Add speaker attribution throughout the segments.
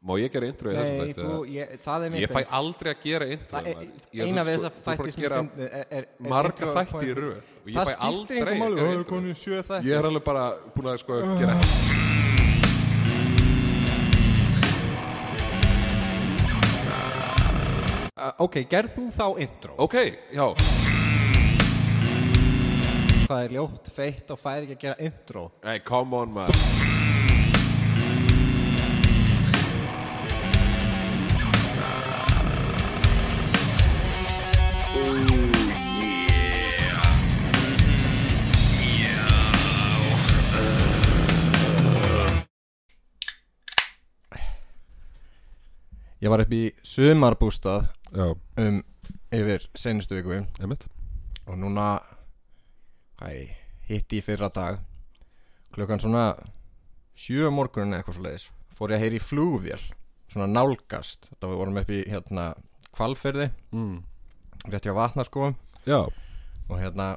Speaker 1: Má ég gera intro í þessum
Speaker 2: Nei,
Speaker 1: þætti?
Speaker 2: þú, ég, það er
Speaker 1: eða?
Speaker 2: mitt
Speaker 1: Ég fæ aldrei að gera intro
Speaker 2: Það er-
Speaker 1: maður. Ég-
Speaker 2: eina
Speaker 1: þú-
Speaker 2: við
Speaker 1: sko,
Speaker 2: þessa
Speaker 1: þú er bara
Speaker 2: þætti
Speaker 1: að
Speaker 2: sem eh,
Speaker 1: gera
Speaker 2: fyndi- er- er- er
Speaker 1: marga
Speaker 2: intro
Speaker 1: þætti í
Speaker 2: point.
Speaker 1: röð og ég
Speaker 2: Það
Speaker 1: fæ
Speaker 2: skiptir
Speaker 1: aldrei
Speaker 2: engum
Speaker 1: að
Speaker 2: máli,
Speaker 1: gera
Speaker 2: það er
Speaker 1: intro.
Speaker 2: komin í Ah. sjö þætti.
Speaker 1: Ég er alveg bara búin að sko gera
Speaker 2: Uh, ok, gerð þú þá intro
Speaker 1: Ok, já,
Speaker 2: Það er ljótt, feitt og fær ekki að gera intro
Speaker 1: hey, come on maður
Speaker 2: Ég var upp í sumarbústað
Speaker 1: Já,
Speaker 2: um yfir senustu viku
Speaker 1: einmitt
Speaker 2: og núna hæ, hitti í fyrra dag klukkan svona sjö á morgunin eða eitthvað svo leiðis fór ég að heyri í flugvél svona nálgast þetta við vorum upp í hérna kvalferði
Speaker 1: mm.
Speaker 2: rétt hjá vatnarskóum
Speaker 1: Já,
Speaker 2: og hérna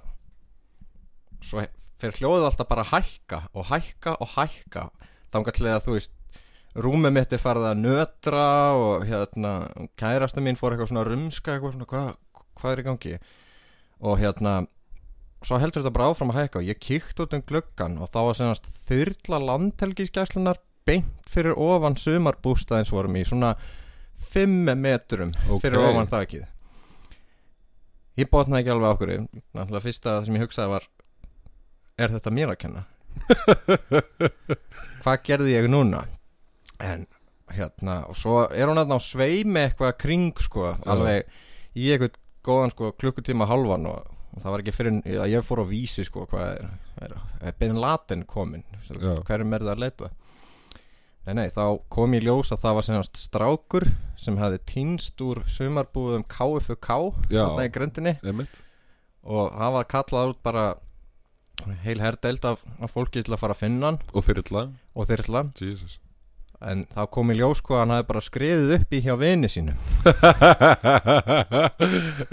Speaker 2: svo he- fer hljóðið alltaf bara að hækka og hækka og hækka þangar til að þú veist rúmið mitt er farið að nötra og hérna kærasta mín fór eitthvað svona að rumska eitthvað svona hvað hva er í gangi og hérna svo heldur þetta bara áfram að hækka og ég kíkt út um gluggan og þá var senast þyrla landhelgisgæslunar beint fyrir ofan sumarbústaðins vorum í svona 5 metrum
Speaker 1: Ok.
Speaker 2: fyrir ofan þakið ég botnaði ekki alveg okkur náttúrulega fyrsta sem ég hugsaði var er þetta mér að kenna hvað gerði ég núna en hérna og svo er hún aðná sveimi eitthvað kring sko alveg í eitthvað góðan sko klukkutíma hálfan og, og það var ekki fyrir að ég fór á vísi sko hvað er, er, er Bin Laden komin
Speaker 1: Já.
Speaker 2: hverjum er það að leita nei nei þá kom ég ljós að það var semast strákur sem hefði týnst úr sumarbúðum KFUK
Speaker 1: Já.
Speaker 2: þarna í gröndinni
Speaker 1: einmitt
Speaker 2: og það var kallað út bara heil herdeld af, af fólki til að fara að finna hann
Speaker 1: Og þyrla,
Speaker 2: og þyrla
Speaker 1: Jesus
Speaker 2: en þá kom í ljós hvað hann hefði bara skriðið upp í hjá vini sínum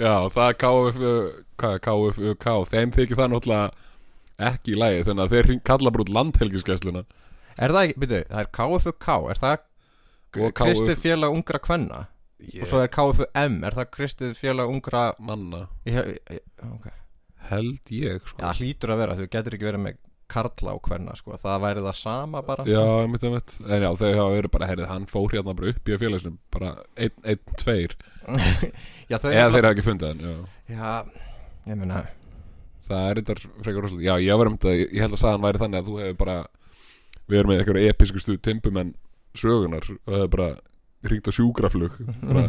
Speaker 1: Já, það er KF, hvað er KFUK Þeim þykir það náttúrulega ekki í lagi Þannig að þeir hring- kalla bara út landhelgiskæsluna
Speaker 2: er það ekki, byrju, það er KFUK er það
Speaker 1: Og KF
Speaker 2: Kristið félag ungra kvenna og svo er KFUM, er það Kristið félag ungra
Speaker 1: Manna,
Speaker 2: ég, ég, okay.
Speaker 1: held ég sko.
Speaker 2: já, hlýtur að vera, þú getur ekki verið með karla og kvenna, sko, það væri það sama bara sko.
Speaker 1: Já, einmitt, einmitt En já, þau hafa verið bara, heyrið, hann fór hérna bara upp í að félagsnum Bara einn, einn, tveir
Speaker 2: já,
Speaker 1: Eða
Speaker 2: þau
Speaker 1: þeir hafa ekki fundið hann, já
Speaker 2: já, ég meina,
Speaker 1: Það er reyndar frekar rosalega Já, ég var um þetta, ég held að saðan væri þannig að þú hefur bara Við erum með einhverja episkustu timbumenn sögunar Og það er bara hringt á sjúkraflug Bara,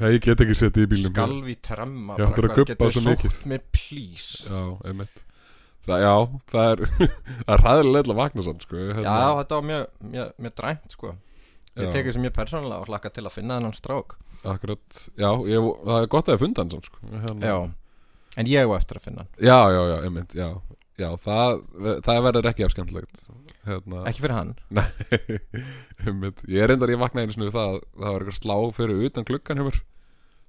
Speaker 1: hei, ég get ekki setið í bílnum
Speaker 2: skalvi tremma
Speaker 1: Já,
Speaker 2: bara,
Speaker 1: þetta er að
Speaker 2: hvað,
Speaker 1: gubba
Speaker 2: getur
Speaker 1: svo
Speaker 2: sótt
Speaker 1: mikið.
Speaker 2: mér, please
Speaker 1: Já, einmitt Það, já, það er, það er ræðilega að vakna samt, sko
Speaker 2: já,
Speaker 1: hérna.
Speaker 2: þetta var mjög, mjög, mjög dræmt, sko
Speaker 1: Já.
Speaker 2: ég tekið sem mjög persónulega og hlakka til að finna þennan strák
Speaker 1: Akkurat, já, ég, það er gott að það er fundan samt, sko hérna.
Speaker 2: já, en ég á eftir að finna hann
Speaker 1: Já, já, já, einmitt, já Já, það, það verður ekki af skemmtilegt Hérna,
Speaker 2: ekki fyrir hann,
Speaker 1: einmitt Ég er reyndar, ég vaknaði einu snu það að Það var eitthvað slá fyrir utan klukkan hjá mér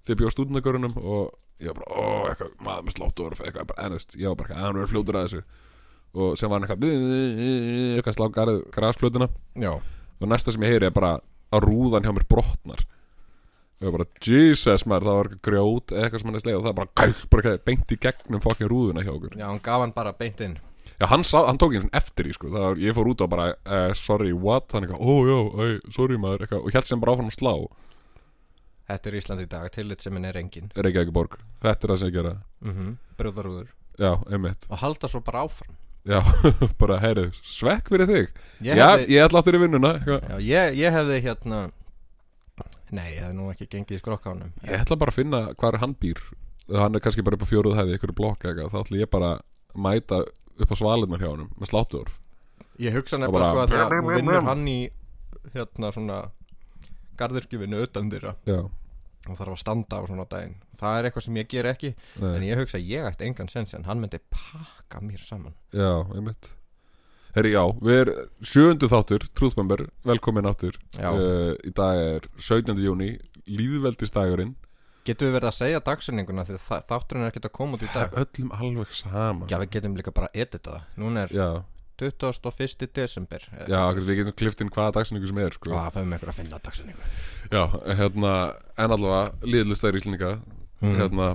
Speaker 1: Þegar bjóð stúdendagörunum og ég var bara, ó, eitthvað, maður með sláttorf eitthvað, bara, en veist, ég var bara, hann verður fljótur að þessu og sem var hann eitthvað eitthvað slá garð, grasflötuna
Speaker 2: já
Speaker 1: og næsta sem ég heyri er bara að rúðan hjá mér brotnar og ég bara, Jesus maður, það var eitthvað grjót eða eitthvað sem hann er sleið og það bara, gæl, bara eitthvað, beint í gegnum fokkin rúðuna hjá okkur
Speaker 2: Já, hann gaf hann bara beint inn
Speaker 1: Já, hann, sá, hann tók einhvern eftir í sko Það var, ég fór út á bara, uh, sorry, what Hann eitthvað, ó, já, ei, sorry maður eitthvað, Og held sem bara áfram að slá,
Speaker 2: Þetta er Ísland í dag, tillit sem henn er engin
Speaker 1: Reykjavík borg Þetta er það sem ég gera
Speaker 2: mm -hmm. Brjóðarúður
Speaker 1: Já, einmitt
Speaker 2: Og halda svo bara áfram
Speaker 1: Já, bara, heyri, svekk fyrir þig
Speaker 2: Ég
Speaker 1: Já,
Speaker 2: hefði,
Speaker 1: ég ætla áttur í vinnuna eitthvað.
Speaker 2: já, ég, ég hefði hérna Nei, ég hefði nú ekki gengið í skrokkánum
Speaker 1: Ég ætla bara að finna hvar hann býr Hann er kannski bara upp á fjóruð hæði, ykkur blokk eitthvað Þá ætla ég bara að mæta upp á svalirnar hjá honum Með sláttuorf
Speaker 2: Ég hugsa
Speaker 1: Og
Speaker 2: nefnilega sko
Speaker 1: bara-
Speaker 2: að það nú vinnur hann í hérna svona garðurkjöfinu utan þeirra
Speaker 1: Já,
Speaker 2: og þarf að standa á svona daginn Það er eitthvað sem ég ger ekki en
Speaker 1: nei,
Speaker 2: ég hugsa að ég ætti engan sens en hann myndi pakka mér saman
Speaker 1: já, einmitt Herri, já, við er sjöundu þáttur, Trúðbæmber, velkomin áttur
Speaker 2: Já,
Speaker 1: uh, Í dag er 17. júni Líðveldistagurinn
Speaker 2: getum við verið að segja dagsinninguna því það, þátturinn er ekki að koma út í
Speaker 1: Það
Speaker 2: dag
Speaker 1: er öllum alveg sama
Speaker 2: Já, við getum líka bara editað það Núna er
Speaker 1: Já,
Speaker 2: 21. desember
Speaker 1: Já, okkur, við getum klift inn hvaða dagsinningu sem er sko.
Speaker 2: Hvað fæðum ykkur að finna dagsinningu
Speaker 1: Já, hérna, en allavega liðlistæður Íslendinga
Speaker 2: Mm.
Speaker 1: hérna,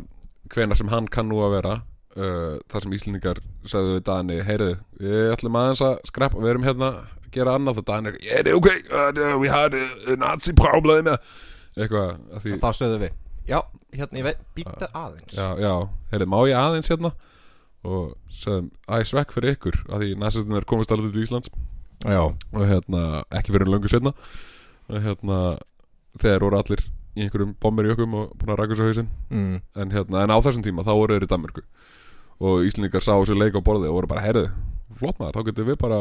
Speaker 1: hvenar sem hann kann nú að vera uh, þar sem Íslendingar sagði við Dani, heyrðu, við ætlum aðeins að skreppa, við erum hérna að gera annað og Dani er, yeah, ok, uh, we had a nazi problem eitthvað, að því
Speaker 2: Þá sögðu við Já, hérna ég veit, býta aðeins
Speaker 1: já, já, heyrðu, má ég aðeins hérna og sagðum, æ, svekk fyrir ykkur að því næstastin er komist alveg til Íslands
Speaker 2: já.
Speaker 1: og hérna, ekki fyrir löngu setna og hérna þegar voru allir í einhverjum bomber í okkum og búin að rækja svo hausinn
Speaker 2: Mm.
Speaker 1: en, hérna, en á þessum tíma þá voru þeir í Danmörku og Íslendingar sá þessu leik á borði og voru bara herðu, flott maður, þá getum við bara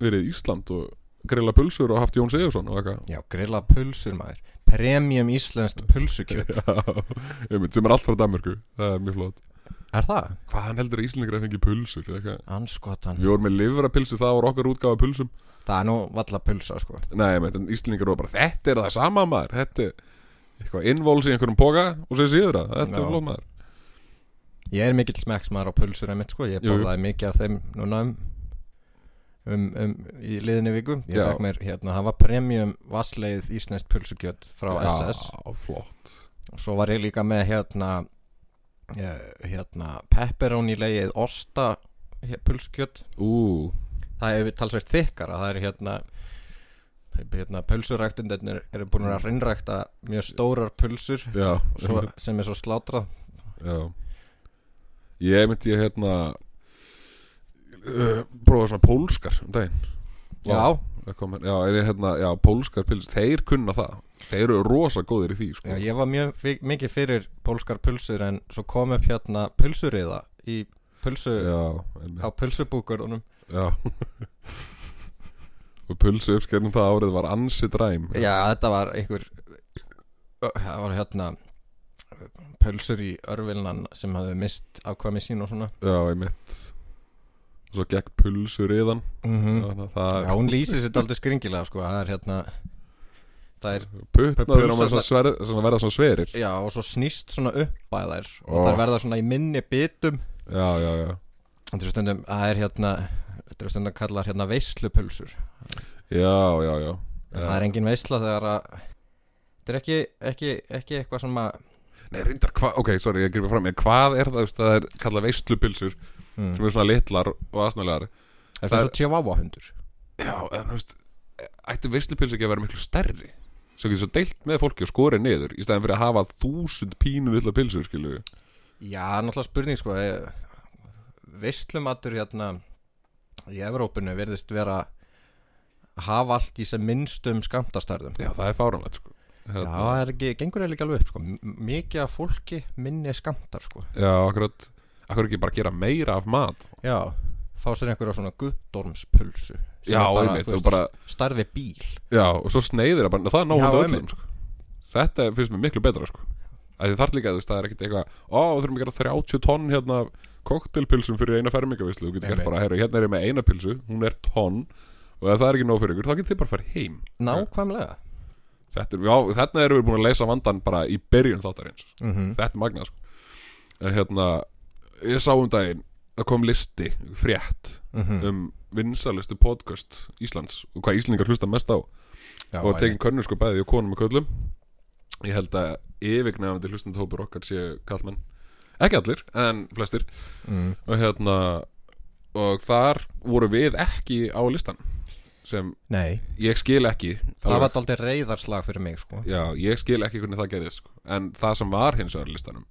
Speaker 1: verið í Ísland og grilla pulsur og haft Jón Sigursson og eitthvað
Speaker 2: já, grilla pulsur maður Premium íslenskt pulsukjöt
Speaker 1: Já, einmitt, sem er allt frá Danmörku, það er mjög flott
Speaker 2: Er það?
Speaker 1: hvaðan heldur að Íslendingar að fengi pulsur eða eitthvað?
Speaker 2: Anskotan
Speaker 1: við vorum með livrapilsu, það voru okkar útgáfa af pulsum
Speaker 2: Það er nú valla pulsa sko
Speaker 1: Nei, meit, en Íslendingar voru bara Þetta er það sama maður Þetta er eitthvað innvóls í einhverjum boga Og sér síður það, þetta
Speaker 2: Já.
Speaker 1: er flott maður
Speaker 2: Ég er mikill smekksmaður á pulsur einmitt sko Ég
Speaker 1: Jú, jú.
Speaker 2: borðaði mikið af þeim núna um, um, um í liðinni viku Ég
Speaker 1: Já.
Speaker 2: fekk mér hérna, það var premium vassleið íslenskt pulsukjöt frá SS
Speaker 1: Já, flott
Speaker 2: og svo var ég líka með hérna eh, hérna pepperoni leið osta he- pulsukjöt
Speaker 1: Ú,
Speaker 2: það er talsvert þykkara það er hérna hérna pulsuræktundin eru búin að reynrækta mjög stórar pulsur
Speaker 1: já,
Speaker 2: svo,
Speaker 1: einmitt,
Speaker 2: sem er svo slátrað
Speaker 1: já. Ég myndi ég hérna uh, Prófa svona pólskar um daginn
Speaker 2: já,
Speaker 1: það kom, já, er ég hérna, já, pólskar pils Þeir kunna það Þeir eru rosa góðir í því sko.
Speaker 2: já, ég var mjög fi- mikið fyrir pólskar pulsur en svo kom upp hérna pulsuriða í pulsu
Speaker 1: já,
Speaker 2: á
Speaker 1: einmitt,
Speaker 2: pulsubúkurunum
Speaker 1: já. Og pulsu uppskerðum það árið var ansi dræm
Speaker 2: Já, þetta var einhver Það var hérna Pölsur í örvilnan sem hafði mist afkvæmi sín og svona
Speaker 1: Já, einmitt Og Svo gekk pulsur yðan Þannig að það
Speaker 2: Mm. Mhm. Já, hún lýsir sér aldrei skringilega sko Það er hérna Það er,
Speaker 1: puttnaður á
Speaker 2: Pulsurnar-
Speaker 1: maður svona, sver, svona verða svona sverir
Speaker 2: já, og svo snýst svona upp að þær Og
Speaker 1: Ó.
Speaker 2: þær verða svona í minni bitum
Speaker 1: Já, já, já
Speaker 2: Þetta er stundum, það er hérna Þetta er stundum kallar hérna veislupölsur
Speaker 1: Já, já, já
Speaker 2: En Það er engin veisla þegar að Þetta er ekki, ekki, ekki eitthvað sem að
Speaker 1: Nei, reyndar, hvað, ok, sorry, ég gripa fram En Hvað er það, þú veist, það er kallað veistlupilsur
Speaker 2: mm.
Speaker 1: sem eru svona litlar og aðsnælegar
Speaker 2: Það er
Speaker 1: Það
Speaker 2: svona
Speaker 1: er-
Speaker 2: svo tjáváa hundur
Speaker 1: Já, en þú veist Ætti veistlupilsur ekki að vera miklu stærri Svo getur svo deilt með fólki og skorið niður Í stæðan fyrir að hafa þúsund pínu litla pilsur, skilju
Speaker 2: Já, náttúrulega spurning sko eh, Veistlumatur hérna í Evrópinu verðist vera að hafa allt í sem minnstum skamtastærðum
Speaker 1: Já, það er fáránlegt, sko
Speaker 2: Já, það er ekki, gengur eða ekki alveg upp sko M- Mikið af fólki minni skamtar sko
Speaker 1: já akkurat Akkur ekki bara gera meira af mat
Speaker 2: Já, fá sér einhverja svona guttormspulsu sem
Speaker 1: Já,
Speaker 2: er bara,
Speaker 1: einmitt,
Speaker 2: þú
Speaker 1: og
Speaker 2: veist,
Speaker 1: bara-
Speaker 2: Stærð við bíl
Speaker 1: Já, og svo sneiðir að bara, það er
Speaker 2: Já,
Speaker 1: náhund öllum
Speaker 2: einmitt.
Speaker 1: sko. Þetta finnst mér miklu betra sko. að því þarf líka, þú veist, það er ekkert eitthvað ó, við þurfum að gera 30 tonn hérna af koktelpilsum fyrir eina fermingavislu þú getur gert
Speaker 2: Einmitt.
Speaker 1: bara, herru, hérna er ég með eina pilsu hún er tonn og ef það er ekki nóg fyrir ykkur þá getur þið bara að fara heim
Speaker 2: Nákvæmlega
Speaker 1: þetta er, já, þarna erum við búin að leysa vandan bara í byrjun þáttarins
Speaker 2: mm
Speaker 1: þetta er magnað sko. en hérna, ég sá um daginn það kom listi, frétt
Speaker 2: Mhm.
Speaker 1: um vinsalistu podcast Íslands og hvað Íslingar hlusta mest á
Speaker 2: Já,
Speaker 1: og tekin
Speaker 2: einmitt.
Speaker 1: könnur sko bæði og konum og köllum ég held að yfirgnefandi hlustandahópur okkar séu kallmenn ekki allir, en flestir
Speaker 2: mm.
Speaker 1: og hérna og þar voru við ekki á listan sem
Speaker 2: Nei,
Speaker 1: ég skil ekki
Speaker 2: það var aldrei reyðarslag fyrir mig sko
Speaker 1: já, ég skil ekki hvernig það gerðist sko. en það sem var hins vegar á listanum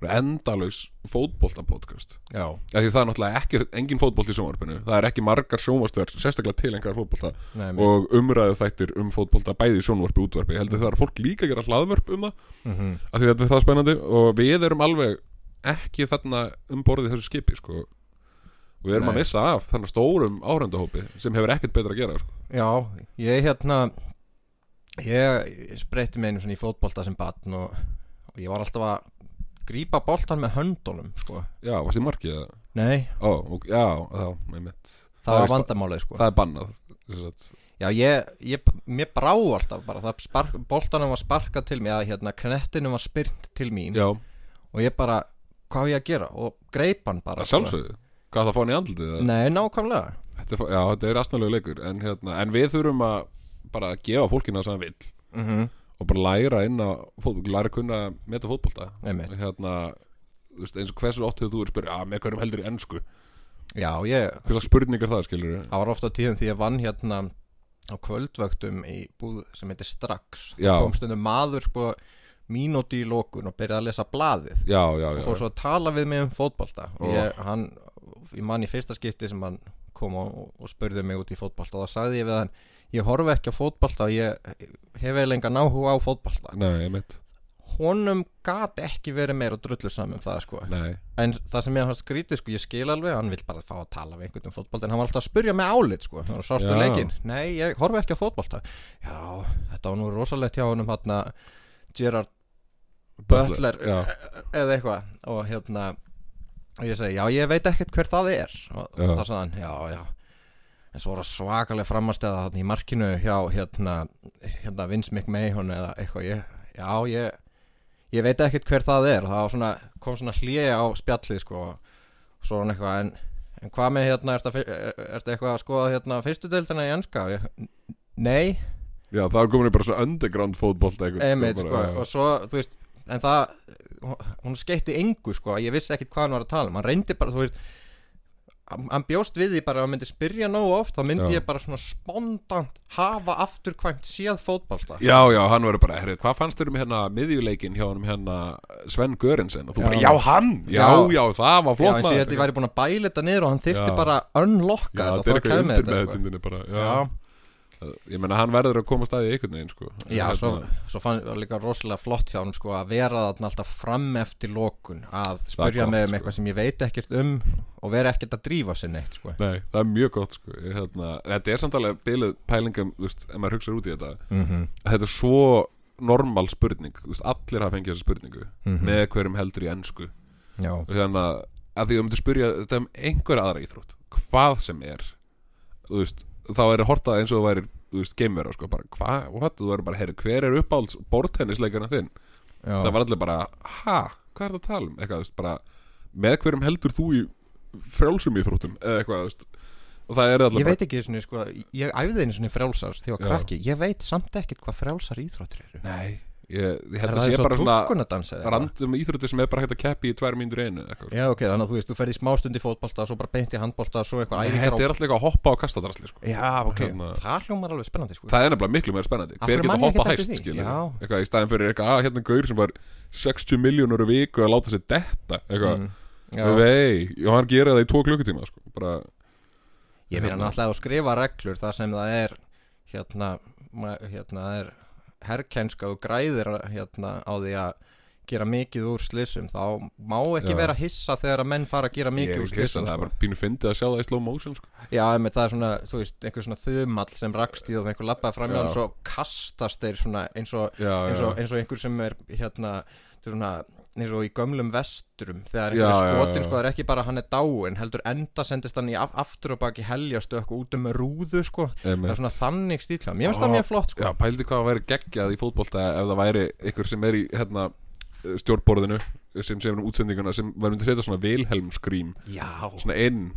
Speaker 1: voru endalaus fótboltapodcast
Speaker 2: Já,
Speaker 1: af því það er náttúrulega ekki, engin fótbolt í sjónvarpinu það er ekki margar sjónvarstöðar, sérstaklega til engar fótbolta
Speaker 2: nei, og...
Speaker 1: og umræðu þættir um fótbolta bæði í sjónvarpi og útvarpi, ég held að það er fólk líka að gera hlaðvörp um það,
Speaker 2: mm
Speaker 1: af því þetta er það spennandi og við erum alveg ekki þarna um borðið þessu skipi sko. og við erum
Speaker 2: Nei.
Speaker 1: að missa af þannig stórum áhrendahópi sem hefur ekkert betra að gera sko.
Speaker 2: Já, ég hérna ég spreyti með einu svona í fótbolta sem batn og, og ég var alltaf að grípa boltan með höndunum sko.
Speaker 1: já, varst í markið eða?
Speaker 2: Nei,
Speaker 1: Ó, og, já, þá, með mitt
Speaker 2: það,
Speaker 1: Það er
Speaker 2: var
Speaker 1: víst-
Speaker 2: vandamálið sko.
Speaker 1: það er bannað sem sagt.
Speaker 2: Já, ég, ég, mér brá alltaf bara, það spark, boltanum var sparkað til mér, eða hérna knettinum var spyrnt til mín
Speaker 1: já,
Speaker 2: og ég bara, hvað á ég að gera? Og greip hann bara
Speaker 1: að sjálfsögðu Hvað það fá hann í andlitið? eða?
Speaker 2: Nei, nákvæmlega
Speaker 1: Þetta er, fa- já, þetta er astnalegu leikur en, hérna, en við þurfum að bara að gefa fólkina sem það vill
Speaker 2: mm -hmm.
Speaker 1: og bara læra inn á fótbolta læra að kunna að meta fótbolta
Speaker 2: Einmitt.
Speaker 1: hérna, þú veist, eins og hversu oft hefur þú verið spyrja, að með hverjum heldur í ennsku
Speaker 2: Já, ég
Speaker 1: hversu spurningar það skilur við
Speaker 2: Það var ofta tíðum því ég vann hérna á kvöldvöktum í búð sem heitir Strax
Speaker 1: Já.
Speaker 2: kom stundum maður sko mínúti í lokun og byrjaði að lesa blaðið
Speaker 1: já, já, já,
Speaker 2: og svo að tala við mig um fótbolta
Speaker 1: Ó.
Speaker 2: og ég, hann, ég mann í fyrsta skipti sem hann kom og, og spurði mig út í fótbolta og þá sagði ég við hann ég horfi ekki á fótbolta og ég hef eiginlega engan áhuga á fótbolta
Speaker 1: nei, ég mitt
Speaker 2: honum gat ekki verið meira drullu saman um það sko
Speaker 1: nei,
Speaker 2: en það sem ég hans skrítið sko, ég skil alveg hann vill bara fá að tala við einhvern um fótbolta en hann var alltaf að spurja með álit sko hann sástu
Speaker 1: Já.
Speaker 2: leikinn, nei ég horfi ekki á fótbolta já, þetta var nú rosalegt hjá honum hann Gerard Butler
Speaker 1: já,
Speaker 2: eða eitthvað og hérna og ég segi, já ég veit ekkert hver það er og
Speaker 1: Já.
Speaker 2: það sagði hann, já já en svo voru svakalega framastæða þarna í markinu hjá hérna, hérna Vince McMahon eða eitthvað ég, já ég ég veit ekkert hver það er og það var svona, kom svona hlýja á spjallið sko og svo var hann eitthvað en, en hvað með hérna, ertu að fi- er þetta eitthvað að skoða hérna fyrstu deildina í ennska ég, nei,
Speaker 1: já, það er komin í bara svo underground fótbolta einhvern,
Speaker 2: einmitt sko,
Speaker 1: bara,
Speaker 2: og svo þú veist en það hún skeitti engu sko ég vissi ekkit hvað hann var að tala um hann reyndi bara þú veist hann hann bjóst við því bara að hann myndi spyrja nógu oft þá myndi
Speaker 1: Já.
Speaker 2: ég bara svona spondant hafa afturkvæmt séð fótballta
Speaker 1: já, já, hann verður bara, herri, hvað fannst þér um hérna miðjuleikin hjá honum hérna Sven Görensen og þú
Speaker 2: Já.
Speaker 1: bara, já, hann, já,
Speaker 2: Já.
Speaker 1: já, það var
Speaker 2: já
Speaker 1: flott
Speaker 2: eins og ég held ég væri búin að bæla þetta niður og hann þyrfti
Speaker 1: Já.
Speaker 2: bara að unlocka
Speaker 1: Já, þetta er
Speaker 2: þetta og þá
Speaker 1: eitthvað
Speaker 2: kæmi
Speaker 1: undir
Speaker 2: þetta
Speaker 1: með
Speaker 2: sko.
Speaker 1: bara, já.
Speaker 2: já,
Speaker 1: Ég menna, hann verður að koma staði í einhvern veginn, sko. En
Speaker 2: já
Speaker 1: hérna-
Speaker 2: svo, svo fann ég líka rosalega flott hjá hann sko að vera þarna alltaf fram eftir lokun að spyrja
Speaker 1: gott,
Speaker 2: mig um
Speaker 1: sko.
Speaker 2: eitthvað sem ég veit ekkert um og vera ekkert að drífa sér neitt sko
Speaker 1: Nei, það er mjög gott, sko. Ég, Hérna, þetta er samt alveg bylið pælingum, þú veist, ef maður hugsaður út í þetta.
Speaker 2: mm -hmm.
Speaker 1: Þetta er svo normal spurning, þú veist, allir hafa fengið þessa spurningu.
Speaker 2: Mhm.
Speaker 1: Með hverjum heldur í ennsku.
Speaker 2: já
Speaker 1: Og hérna, að því þú myndir spyrja þetta um einhverja aðra íþrótt, hvað sem er, þú veist, þá er að horta eins og þú væri, þú veist, geimvera, sko, bara, hvað, what? þú verður bara, herri, hver er uppáhalds bortennisleikarna þinn?
Speaker 2: Já,
Speaker 1: það var allir bara, ha, hvað er það að tala um eitthvað, þú veist, bara, með hverjum heldur þú í frjálsum íþróttum eða eitthvað, þú veist, og það er allir
Speaker 2: ég
Speaker 1: bara
Speaker 2: veit ekki svona, sko, ég æfði einu svona frjálsar þegar ég var
Speaker 1: Já.
Speaker 2: krakki, ég veit samt ekkit hvað frjálsar íþróttir eru
Speaker 1: nei, ég, ég
Speaker 2: Er
Speaker 1: held að
Speaker 2: það
Speaker 1: það
Speaker 2: eins
Speaker 1: sé
Speaker 2: og
Speaker 1: bara svona
Speaker 2: tungunadans eða eitthvað?
Speaker 1: randum íþróttir sem er bara hægt að keppi í tvær mínútur í einu, eitthvað,
Speaker 2: Já, ok, þannig að þú veist, þú ferði í smástund í fótbolta svo bara beint í handbolta, svo eitthvað
Speaker 1: Nei,
Speaker 2: æfingar
Speaker 1: þetta er allir eitthvað að hoppa á kastadrasli, sko
Speaker 2: Já, ok,
Speaker 1: Hérna-
Speaker 2: það hljómar alveg spennandi sko.
Speaker 1: Það er nefnilega miklu meira spennandi
Speaker 2: Af
Speaker 1: Hver
Speaker 2: hverju
Speaker 1: getur
Speaker 2: man ég
Speaker 1: hoppað
Speaker 2: ekkert
Speaker 1: hæst,
Speaker 2: eftir því?
Speaker 1: skilur
Speaker 2: Já.
Speaker 1: Eitthvað í staðin fyrir eitthvað, að hérna gaur sem var 60 miljónur í viku að láta sér detta Eitthvað,
Speaker 2: Mm. Já.
Speaker 1: vei, og hann gera það í tvo klukkutíma, sko Bara,
Speaker 2: Ég meina
Speaker 1: hérna.
Speaker 2: náttúrulega að skrifa reglur þar sem það er hérna, ma- hérna það er herrkenska og græðir hérna, á því að gera mikið úr slissum þá má ekki
Speaker 1: Já.
Speaker 2: vera hissa þegar að menn fara að gera
Speaker 1: ég
Speaker 2: mikið
Speaker 1: er
Speaker 2: úr
Speaker 1: ekki hissa,
Speaker 2: slissum
Speaker 1: það
Speaker 2: sko.
Speaker 1: er bara pínu fyndið að sjá það í slow motion, sko
Speaker 2: Já, emi, það er svona, þú veist, einhver svona þumall sem rakst í það og einhver lappaði fram í
Speaker 1: Já.
Speaker 2: hann svo kastast þeir svona eins og,
Speaker 1: Já,
Speaker 2: eins
Speaker 1: já.
Speaker 2: og, eins og einhver sem er hérna, þetta er svona, eins og í gömlum vesturum þegar
Speaker 1: Já, já,
Speaker 2: einhver er
Speaker 1: já.
Speaker 2: skotin, sko, það er ekki bara hann er dáin heldur enda sendist hann í af, aftur og baki heljastu eitthvað út um rúðu, sko það
Speaker 1: Einmitt.
Speaker 2: er svona þannig stíl hann, mér finnst
Speaker 1: Já.
Speaker 2: það mjög flott, sko
Speaker 1: Já, pældi hvað að væri geggjað í fótbolta ef það væri ykkur sem er í hérna, stjórnborðinu sem sem um útsendinguna sem var myndi að setja svona Wilhelm skrím
Speaker 2: Já,
Speaker 1: svona inn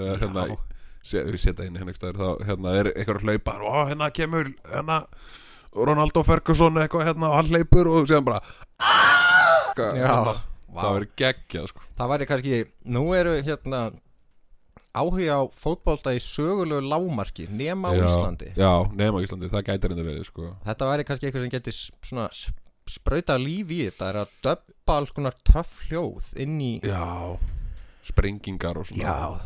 Speaker 1: uh, hérna,
Speaker 2: Já.
Speaker 1: se, við setja inn hérna, einhvers staðar, þá, hérna er ykkur að hlaupa og hérna kemur hérna Ronaldo Ferguson eitthvað hérna og hann hleypur og séðan bara Eitthvað,
Speaker 2: Já.
Speaker 1: hérna,
Speaker 2: Vá.
Speaker 1: það væri geggjað sko.
Speaker 2: það væri kannski, nú eru hérna áhuga á fótbolta í sögulegu lámarki nema á
Speaker 1: já,
Speaker 2: Íslandi
Speaker 1: Já, nema á Íslandi, það gæti reynda verið sko.
Speaker 2: þetta væri kannski eitthvað sem geti s- svona s- sprautað líf í þetta er að döbba alls konar töff hljóð inn í
Speaker 1: Já, sprengingar og svona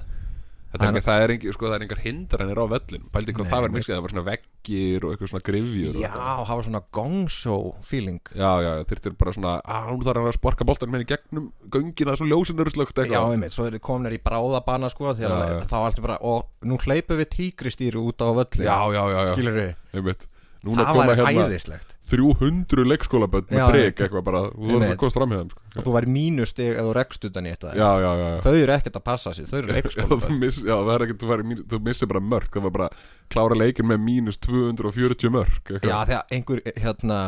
Speaker 1: Þetta er
Speaker 2: Hann-
Speaker 1: ekki, það er engi, sko, það er engar hindranir á vellin Pældi hvað
Speaker 2: Nei,
Speaker 1: það var
Speaker 2: nei.
Speaker 1: mikið, það var svona veggir og eitthvað svona grifjur og
Speaker 2: já,
Speaker 1: eitthvað.
Speaker 2: hafa svona gongshow feeling
Speaker 1: Já, já, þyrftir bara svona að hún þarf að sparka boltan með henni gegnum göngina svo ljósin eru slögt
Speaker 2: Já,
Speaker 1: eitthvað
Speaker 2: einmitt, svo eru komnir í bráðabana sko, þegar
Speaker 1: Já, já.
Speaker 2: þá er alltaf bara, og nú hleypum við tígristýri út á
Speaker 1: já,
Speaker 2: völlu
Speaker 1: já, já, já,
Speaker 2: skilur við,
Speaker 1: einmitt Núna
Speaker 2: það
Speaker 1: koma
Speaker 2: var
Speaker 1: hérna
Speaker 2: æðislegt
Speaker 1: 300 leikskólabönd
Speaker 2: Já,
Speaker 1: með breyk
Speaker 2: einmitt.
Speaker 1: eitthvað bara Þú þarf
Speaker 2: Einmitt.
Speaker 1: að komast fram hjá þeim sko.
Speaker 2: og þú væri mínustig eða þú rekst utan í þetta
Speaker 1: Já, já, já, já
Speaker 2: þau eru ekkert að passa sér, þau eru leikskóla
Speaker 1: Þú miss, já, það er ekkert, þú, færi, mín- þú missir bara mörk Það var bara klára leikin með mínus 240 mörk
Speaker 2: Já, þegar einhver hérna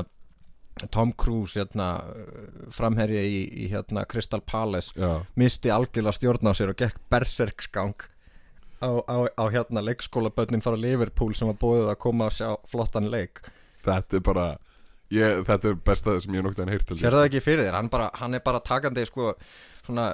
Speaker 2: Tom Cruise hérna, uh, framherja í, í hérna, Crystal Palace
Speaker 1: já,
Speaker 2: misti algjörlega stjórn á sér og gekk berserksgang á, á, á hérna leikskólabönnin frá Liverpool sem var búið að koma að sjá flottan leik
Speaker 1: þetta er bara ég, þetta er besta sem ég noktið hann heyrt
Speaker 2: sér það ekki fyrir þér, hann, bara, hann er bara takandi sko svona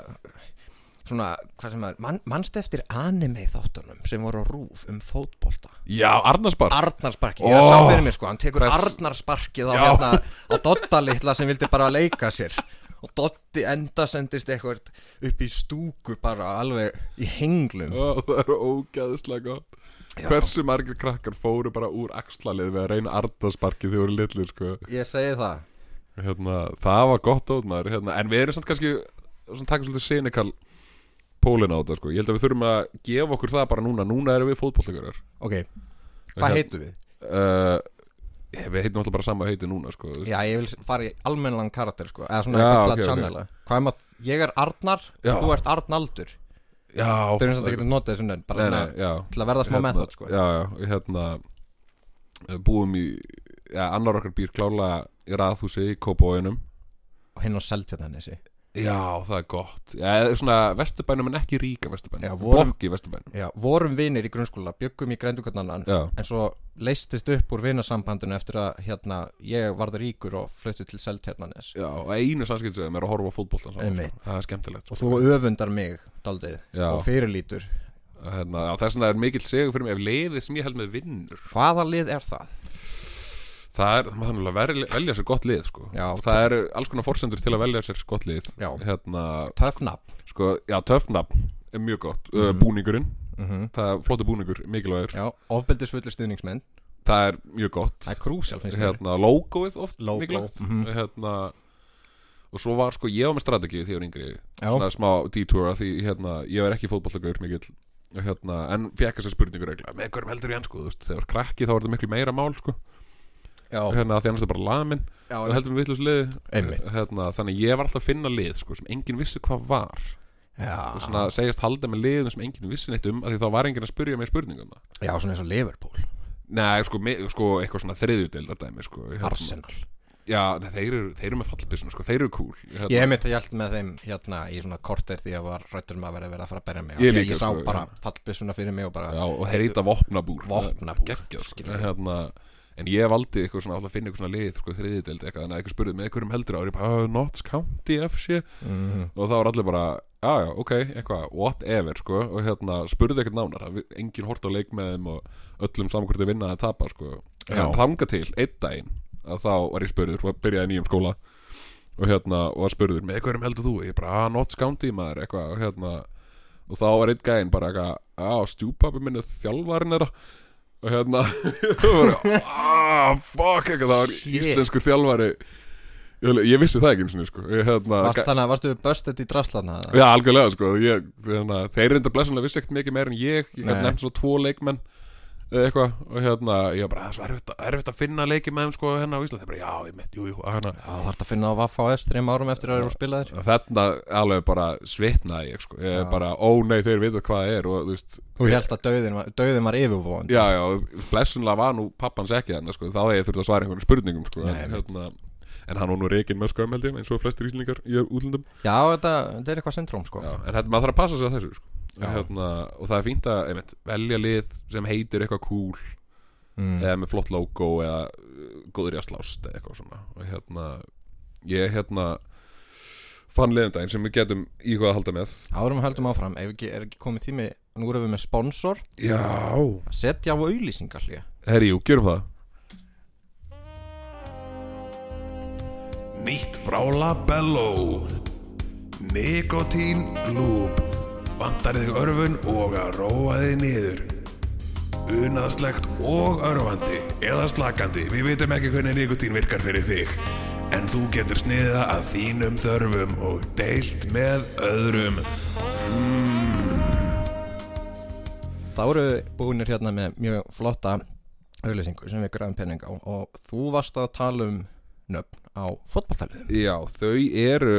Speaker 2: svona, hvað sem er, man, manst eftir anime þáttunum sem voru á rúf um fótbolta
Speaker 1: Já, Arnarsbar
Speaker 2: Arnarsparki, ég sá
Speaker 1: Ó,
Speaker 2: fyrir mér sko hann tekur
Speaker 1: hvers-
Speaker 2: Arnarsparkið á,
Speaker 1: Já.
Speaker 2: hérna, á Dotta litla sem vildi bara leika sér og Dotti enda sendist eitthvað upp í stúku bara alveg í henglum
Speaker 1: Ó, það er ógæðislega gott Hversu margir krakkar fóru bara úr axlalið við að reyna arðasparki þegar voru litlir sko.
Speaker 2: ég segi það
Speaker 1: hérna, Það var gott át maður hérna. En við erum samt kannski svona, taka svolítið sinikal pólin á þetta sko. Ég held að við þurfum að gefa okkur það bara núna Núna erum við fótbolltegurar
Speaker 2: ok, hvað
Speaker 1: Hérna-
Speaker 2: heitum við?
Speaker 1: uh, Við heitum alltaf bara sama heiti núna sko. þú veist.
Speaker 2: já, ég vil fara í almennan karakter sko eða svona
Speaker 1: Já,
Speaker 2: eitthvað
Speaker 1: ok,
Speaker 2: okay,
Speaker 1: ok.
Speaker 2: sannlega hvað er maður, ég er Arnar
Speaker 1: Já.
Speaker 2: þú ert Arnaldur
Speaker 1: Já,
Speaker 2: þau erum samt ekki að nota þessu nönd bara
Speaker 1: Nei,
Speaker 2: svona
Speaker 1: nei, já
Speaker 2: til að verða smá með það sko
Speaker 1: Já, já, við hérna eh, búum í, já, annar okkar býr klálega í raðhúsi í Kópóinum
Speaker 2: og hinn á Seltjarnanessi
Speaker 1: Já, það er gott Já, eða svona vesturbænum en ekki ríka
Speaker 2: Já,
Speaker 1: vesturbænum
Speaker 2: vorum-
Speaker 1: Blokk í vesturbænum
Speaker 2: já, vorum vinir í grunnskóla, byggum í grændugarnannan
Speaker 1: Já,
Speaker 2: en svo leistist upp úr vinasambandinu eftir að hérna, ég varð ríkur og flutti til Seltjarnanes
Speaker 1: já, og einu sannskiptsveðum er að horfa á fótboltan saman sko.
Speaker 2: Einmitt.
Speaker 1: Það er skemmtilegt
Speaker 2: og
Speaker 1: sko.
Speaker 2: þú öfundar mig daldið
Speaker 1: Já.
Speaker 2: og fyrirlítur
Speaker 1: hérna, já, Þess vegna er mikill segur fyrir mig ef liðið sem ég held með vinnur
Speaker 2: hvaða lið er það?
Speaker 1: Það er, maður þannig að velja, velja sér gott lið sko.
Speaker 2: Já,
Speaker 1: Og Það eru alls konar forsendur til að velja sér gott lið
Speaker 2: Já.
Speaker 1: Hérna,
Speaker 2: töfnab
Speaker 1: sko, já, töfnafn er mjög gott mm. Búningurinn,
Speaker 2: mm -hmm.
Speaker 1: það er flottu búningur, mikilvægur
Speaker 2: já, ofbeldisvullu stuðningsmenn
Speaker 1: það er mjög gott
Speaker 2: það er krúsjál finnst mér
Speaker 1: hérna, logoið oft
Speaker 2: Logo.
Speaker 1: mikilvægt
Speaker 2: Mhm.
Speaker 1: hérna, og svo var sko ég var með strategið þegar ég var yngri
Speaker 2: Já.
Speaker 1: svona smá detour af því hérna, ég er ekki fótballtakaur mikill Og hérna, en fekk þessar spurningur regla með hverjum heldur í enn sko, þú veist, þegar þú ert krakki þá er þetta miklu meira mál sko,
Speaker 2: já,
Speaker 1: hérna, af því annars er bara lamin
Speaker 2: já,
Speaker 1: og heldur við vitlaus lið
Speaker 2: Einmitt.
Speaker 1: hérna, þannig að ég var alltaf að finna lið sko, sem enginn vissi hvað var
Speaker 2: já,
Speaker 1: og svona segjast halda með liðum sem enginn vissi neitt um af því þá var enginn að spurja mig spurningum
Speaker 2: já, svona eins og Liverpool
Speaker 1: Nei, sko, mi- sko eitthvað svona þriðjudeildar dæmi sko, hérna.
Speaker 2: Arsenal
Speaker 1: Já, nei, þeir eru, þeir eru með fallbissum sko, þeir eru cool hérna.
Speaker 2: ég hef mitt að hjælt með þeim hérna í svona korter því að var rættur um að vera að vera að fara að berja mig
Speaker 1: Ég
Speaker 2: Því að
Speaker 1: líka,
Speaker 2: ég sá
Speaker 1: sko,
Speaker 2: bara fallbissuna fyrir mig og bara
Speaker 1: Já, og þeir heita vopnabúr
Speaker 2: Vopnabúr,
Speaker 1: Gekkjað, sko,
Speaker 2: skilur.
Speaker 1: hérna En ég valdi eitthvað svona, alltaf að finna eitthvað svona lið sko, þriðjudeild eitthvað, þannig að eitthvað spurði með einhverjum heldur og ég bara, uh, Notts County FC
Speaker 2: Mhm.
Speaker 1: og þá var allir bara, já, já, ok eitthvað, whatever, sko, og hérna spurði ekkert nánar, það- enginn hort á leik með þeim og öllum samkvæmt að vinna að tapa, sko
Speaker 2: Já.
Speaker 1: en þanga til, einn daginn að þá var ég spurður, var- byrjaði í nýjum skóla og hérna, og var spurður með hverjum heldur þú, ég bara, að Notts County maður, eitthvað, og hérna og þá var einn gæinn bara eitthvað, að stjúpapi minni þjálfarinn þeirra og hérna ah, fuck, eitthvað, það var
Speaker 2: Shit.
Speaker 1: íslenskur þjálfari ég, ég vissi það ekki eins og sko. Ég, hérna,
Speaker 2: Varst, þannig að varstu við bustet í draslan
Speaker 1: Já, algjörlega, sko ég, hérna, Þeir reynda blessunlega vissi ekkert mikið meir en ég Ég
Speaker 2: Nei.
Speaker 1: hef nefnt svona tvo leikmenn eða eitthvað, og hérna, ég var bara, það er svo erfitt, að- erfitt að finna leiki með þeim, sko, hérna á Ísland þeir bara, já, ég mitt, jú, jú, að hérna
Speaker 2: Já, það þarf að finna á Vaffa og S þreim árum eftir að það eru spilaðir
Speaker 1: Þarna alveg bara svitnaði ég, sko Ég er
Speaker 2: Já.
Speaker 1: bara, ó nei, þeir vita hvað það er og, þú veist,
Speaker 2: Þú held að dauðin var, dauðin var yfirvóðan
Speaker 1: já, já, blessunlega var nú pappans ekki þarna, sko, þá hefði ég þurft að svara einhvern spurningum, sko,
Speaker 2: Nei,
Speaker 1: en,
Speaker 2: einmitt.
Speaker 1: hérna, en hann var nú reikin með skömm, held ég, eins og flestir íslendingar í útlundum
Speaker 2: Já, þetta, þetta er eitthvað syndróm sko
Speaker 1: Já, en hérna, maður þarf að passa sig að þessu sko.
Speaker 2: Já.
Speaker 1: hérna, og það er fínt að einmitt, velja lið sem heitir eitthvað cool
Speaker 2: mm.
Speaker 1: eða með flott logo eða uh, góður í að slást eða eitthvað svona og hérna ég hérna fann liðum daginn sem við getum í hvað að halda með
Speaker 2: Árum höldum áfram, ef ekki, er ekki komið tími Nú erum við með sponsor
Speaker 1: Já,
Speaker 2: að setja á auðlýsingar hlýja
Speaker 1: herri, jú, gerum það Nýtt frá Labello Nikotín Lúb Vantar þig örfun og að róa þig niður Unaðslegt og örfandi Eða slakandi Við vitum ekki hvernig nikotín virkar fyrir þig En þú getur sniða að þínum þörfum Og deilt með öðrum
Speaker 2: Þá eru búinir hérna með mjög flotta auðlýsingu sem við græðum penning á og þú varst að tala um nöfn á fótballtaliðum
Speaker 1: Já, þau eru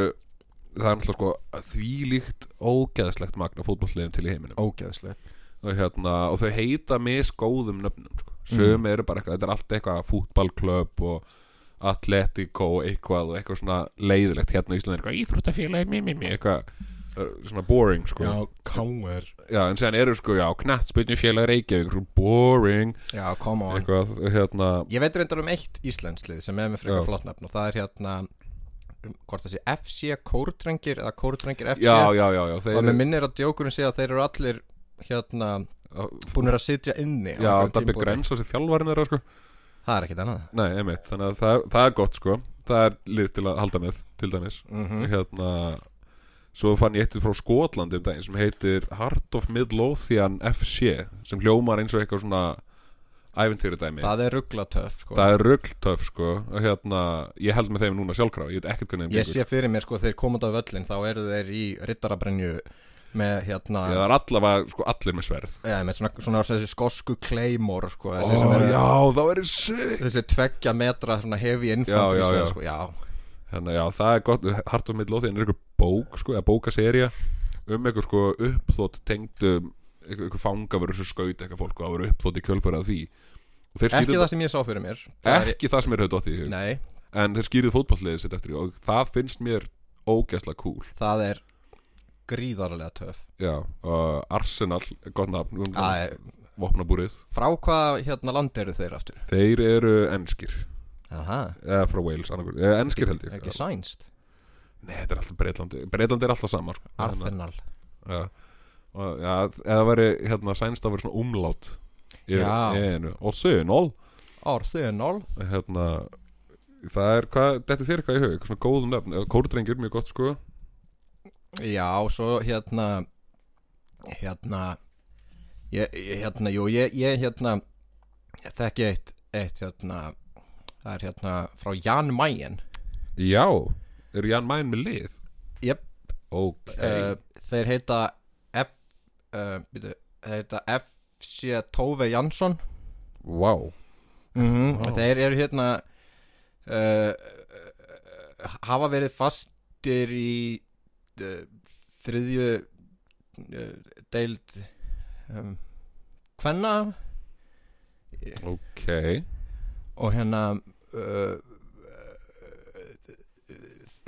Speaker 1: Það er náttúrulega sko þvílíkt ógeðslegt magna fótbolllegum til í heiminum
Speaker 2: Ógeðslegt
Speaker 1: og, hérna, og þau Mm. heita mis góðum nöfnum sko. Sum eru bara eitthvað, þetta er allt eitthvað fútballklöp og Atletico eitthvað og eitthvað svona leiðilegt hérna í Íslandi eitthvað íþróttafélagi, mi, mi, mi, eitthvað uh, svona boring sko
Speaker 3: Já, kámer
Speaker 1: Já, en séðan eru sko, já, knattspyrnufélagi Reykjavík, eitthvað boring
Speaker 2: Já, come on
Speaker 1: eitthvað, hérna,
Speaker 2: Ég veit reyndar um eitt íslenslið sem er með
Speaker 1: Já.
Speaker 2: frekar flott nafn og það er hérna um, hvort það sé FC Kórdrengir eða Kórdrengir FC
Speaker 1: já, já, já, já þeir
Speaker 2: og
Speaker 1: eru,
Speaker 2: mér minnir að djókurinn sé að þeir eru allir hérna búinir að sitja inni á
Speaker 1: já,
Speaker 2: einhverjum
Speaker 1: Dabbi
Speaker 2: tímapunkti.
Speaker 1: Grens á sér þjálfarinn er sko
Speaker 2: Það er ekkit annað
Speaker 1: Nei, einmitt, þannig að það, það er gott sko Það er lið til að halda með, til dæmis
Speaker 2: Mhm.
Speaker 1: Hérna Svo fann ég eitt frá Skotlandi um daginn sem heitir Heart of Midlothian FC sem hljómar eins og eitthvað svona æventýri dæmi
Speaker 2: Það er rugglatöf sko.
Speaker 1: Það er rugltöf sko og hérna, ég held með þeim núna sjálfkrá Ég veit ekkert hvernig þeim
Speaker 2: Ég
Speaker 1: gengur.
Speaker 2: sé fyrir mér sko þeir komandi á völlin þá eru þeir í rittarabrenju með hérna
Speaker 1: Ég, Það er allavega sko allir með sverð
Speaker 2: Já, með svona, svona þessi skosku claymore sko,
Speaker 1: Ó,
Speaker 2: þessi, sem eru-
Speaker 1: já, þá er ég sick
Speaker 2: þessi tveggja metra svona hefi infantry
Speaker 1: Já, já, já.
Speaker 2: Sko, já.
Speaker 1: Þannig að Hérna, já, það er gott Heart of Midlothian er eitthvað bók sko, eða bókaserja um eitthvað sko uppþótt tengdum eitthvað, eitthvað fangavöru sem skaut eitthvað fólk og það voru uppþótt í kjölfarið af því og þeir
Speaker 2: Ekki
Speaker 1: skýrðu
Speaker 2: það sem ég sá fyrir mér
Speaker 1: það,
Speaker 2: Það er-
Speaker 1: ekki það sem er höfðu átt í hug
Speaker 2: Nei,
Speaker 1: en þeir skýrðu fótballliðið sitt eftir því og það finnst mér ógæslega cool
Speaker 2: það er gríðarlega töf
Speaker 1: já, uh, Arsenal, gott nafn um,
Speaker 2: Æ,
Speaker 1: vopnabúrið,
Speaker 2: Frá hvað hérna land eru þeir aftur?
Speaker 1: þeir eru ennskir
Speaker 2: Aha,
Speaker 1: eða frá Wales, annarkur, eða ennskir held ég
Speaker 2: ekki sænst
Speaker 1: Nei, þetta er alltaf Breitlandi, Breitlandi er alltaf sama sko. Þannig að-
Speaker 2: Arsenal
Speaker 1: Já, og, já eða væri hérna sænst að vera svona umlátt yfir
Speaker 2: Já.
Speaker 1: EN-u. og sönól
Speaker 2: Arsenal
Speaker 1: hérna það er hvað, þetta er þér eitthvað í hug eitthvað svona góðum nefn, kórdrengir mjög gott sko
Speaker 2: Já, svo hérna hérna ég, ég- hérna, jú, ég, ég hérna ég þekki eitt, eitt hérna, það er hérna frá Jan Mayen
Speaker 1: já, er Jan Mæn með lið
Speaker 2: Jep,
Speaker 1: ok,
Speaker 2: uh, þeir heita F uh, byrju, þeir heita FC Tove Jansson
Speaker 1: wow
Speaker 2: mm
Speaker 1: Vá.
Speaker 2: Þeir eru hérna uh, hafa verið fastir í uh, þriðju uh, deild um, hvenna
Speaker 1: ok,
Speaker 2: og hérna uh,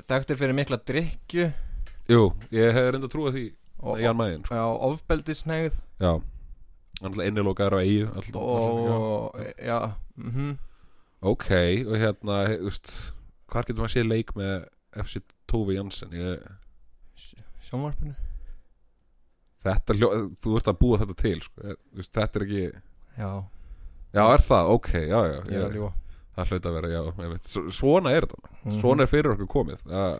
Speaker 2: þekktir fyrir mikla drykju
Speaker 1: jú, ég hef reynda að trúa því
Speaker 2: og, og,
Speaker 1: Jan Mæn, sko.
Speaker 2: og ofbeldisneið
Speaker 1: já hann er innilokaður á eigu alltaf,
Speaker 2: og já, mhm
Speaker 1: ok, og hérna he- þú veist, hvar getur maður séð leik með FC Tófi Jansen ég
Speaker 2: sjónvarpinu
Speaker 1: Þetta hljó, þú ert að búa þetta til sko. Eh, þú veist, Þetta er ekki
Speaker 2: já,
Speaker 1: Já, er það, ok, já, já,
Speaker 2: ég er að
Speaker 1: já.
Speaker 2: ljúa
Speaker 1: Það hlaut að vera, já, ég veit S- Svona er þetta,
Speaker 2: Mhm.
Speaker 1: svona er fyrir okkur komið að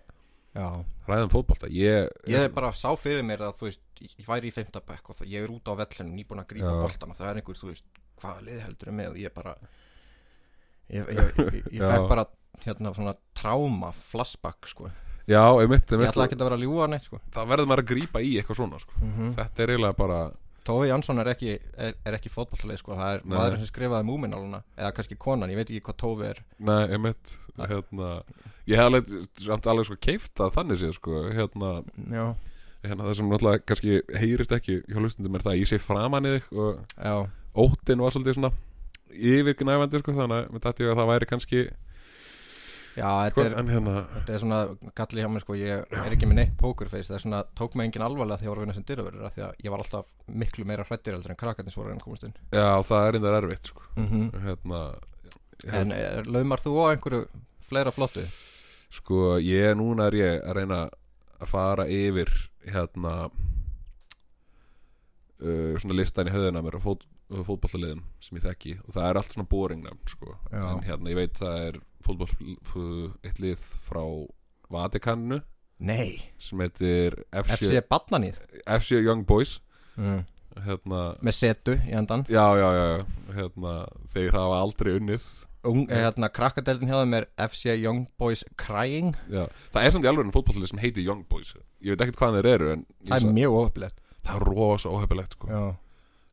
Speaker 2: já
Speaker 1: Ræðum fótbolta, ég
Speaker 2: Ég bara sá fyrir mér að þú veist, ég væri í fimmtabæk og það, ég er út á vellinu, nýbúin að grípa
Speaker 1: Já.
Speaker 2: boltana, það er einhver, þú veist, hvaða lið heldur með og ég bara, ég, ég, ég, ég
Speaker 1: Já.
Speaker 2: fekk bara, hérna, svona tráma, flashback, sko.
Speaker 1: Já, ég mitt, ég
Speaker 2: Ég
Speaker 1: mitt
Speaker 2: ætla ekki að vera að ljúa neitt, sko.
Speaker 1: Það verður maður að grípa í eitthvað svona sko.
Speaker 2: Mm
Speaker 1: Þetta er eiginlega bara
Speaker 2: Tófi Jansson er ekki, er, er ekki fótballtalið, sko, það er
Speaker 1: Nei.
Speaker 2: maðurinn sem skrifaði múmináluna, eða kannski konan, ég veit ekki hvað Tófi er.
Speaker 1: Nei, ég mitt, hérna Ég hef alveg, samt alveg sko keift að þannig sé sko. hérna,
Speaker 2: Já.
Speaker 1: hérna, það sem náttúrulega kannski heyrist ekki hjá hlustundum er það að ég sé framan í þig og
Speaker 2: Já,
Speaker 1: óttin var svolítið svona yfirgnæfandi sko, þannig að mér dætti ég að það væri kannski
Speaker 2: já, þetta er...
Speaker 1: en hérna,
Speaker 2: Þetta er svona galli hjá mér sko, ég er ekki með neitt pokerface, það er svona, tók mig engin alvarlega þegar ég var að vinna sem dyraverður, af því að ég var alltaf miklu meira hrættir heldur en krakkarnir sem voru að reyna að komast inn.
Speaker 1: já það er einnig erfitt sko.
Speaker 2: Mm -hmm.
Speaker 1: hérna,
Speaker 2: En er, laumar þú á einhverju fleira flottu?
Speaker 1: sko ég núna er ég að reyna að fara yfir hérna uh, svona listan í höðina mér á fót, fótballaliðum sem ég þekki og það er allt svona boring nefn sko.
Speaker 2: Já.
Speaker 1: en hérna ég veit það er fótball f- eitt lið frá Vatikaninu
Speaker 2: Nei.
Speaker 1: sem heitir
Speaker 2: FC
Speaker 1: FC,
Speaker 2: Badnanið?
Speaker 1: FC Young Boys
Speaker 2: Mm.
Speaker 1: hérna
Speaker 2: Með setu í endan.
Speaker 1: já já já já. hérna, þeir hafa aldrei unnið
Speaker 2: Ung, eh, hérna, krakkadeldin hjá þeim er FC Young Boys Crying.
Speaker 1: Já, það er samt í alveg en fótballið sem heitir Young Boys Ég veit ekkert hvað þeir eru en ég
Speaker 2: Það
Speaker 1: sa-
Speaker 2: er mjög ofilegt.
Speaker 1: það er rosa óhefilegt sko.
Speaker 2: Já.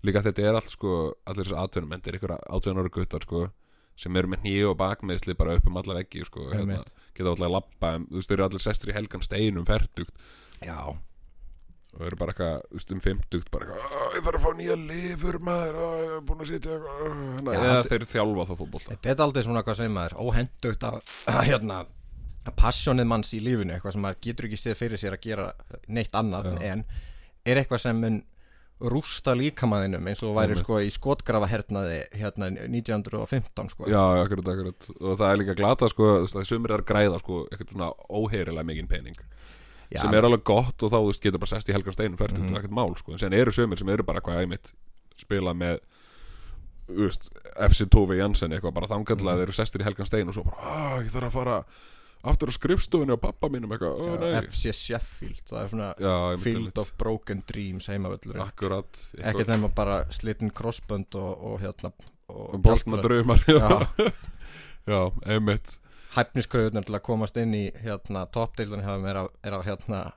Speaker 1: Líka þetta er allt sko, allir þessi aðtönum en þetta er ykkur aðtönur og guttar sko, sem eru með nýju og bakmeðsli bara upp um alla veggi sko, hérna,
Speaker 2: Einmitt.
Speaker 1: geta allir að labba um, þú veist, þeir eru allir sestri í helgan steinum ferdugt
Speaker 2: Já.
Speaker 1: og eru bara eitthvað, þú veist, um 50 bara eitthvað, "Ah, ég þarf að fá nýja lifur maður, ah, ég er búin að sitja eitthvað ah," þannig
Speaker 2: Já,
Speaker 1: að- eða
Speaker 2: þetta-
Speaker 1: þeir þjálfa þá fótbolta
Speaker 2: Þetta er aldrei svona hvað sem maður óhendugt af hérna að passionið manns í lífinu eitthvað sem maður getur ekki séð fyrir sér að gera neitt annað en er eitthvað sem mun rústa líkamæðinum eins og þú væri
Speaker 1: Einmitt.
Speaker 2: sko í skotgrafahernaði hérna 1915 sko
Speaker 1: Já, já, akkurat, akkurat og það er líka glata, sko, þú veist, það er sömur er að græða sko, eitthvað svona óheyrilega mikinn pening
Speaker 2: Já, Mhm.
Speaker 1: sem er alveg gott og þá, þú veist, getur bara sest í helgan steinum fært, mm -hmm. ekkert mál, sko, en sen eru sömur sem eru bara hvað æmitt, spila með þú veist, FC Tove Jansen eitthvað, bara
Speaker 2: Mhm.
Speaker 1: þangallega, þeir eru sestir í helgan stein og svo bara, ah, ég þarf að fara aftur á skrifstofunni á pappa mínum eitthvað, ó, nei
Speaker 2: FC Sheffield það er
Speaker 1: Já,
Speaker 2: svona
Speaker 1: einmitt, einmitt.
Speaker 2: Field of Broken Dreams heimavöllur
Speaker 1: Akkurat
Speaker 2: ekki þeim að bara slittin crossbönd og, og hérna og
Speaker 1: Bóltna draumar Já,
Speaker 2: Já.
Speaker 1: já einmitt
Speaker 2: hæfniskröðunar til að komast inn í hérna toppdeildun hefum er að, er að hérna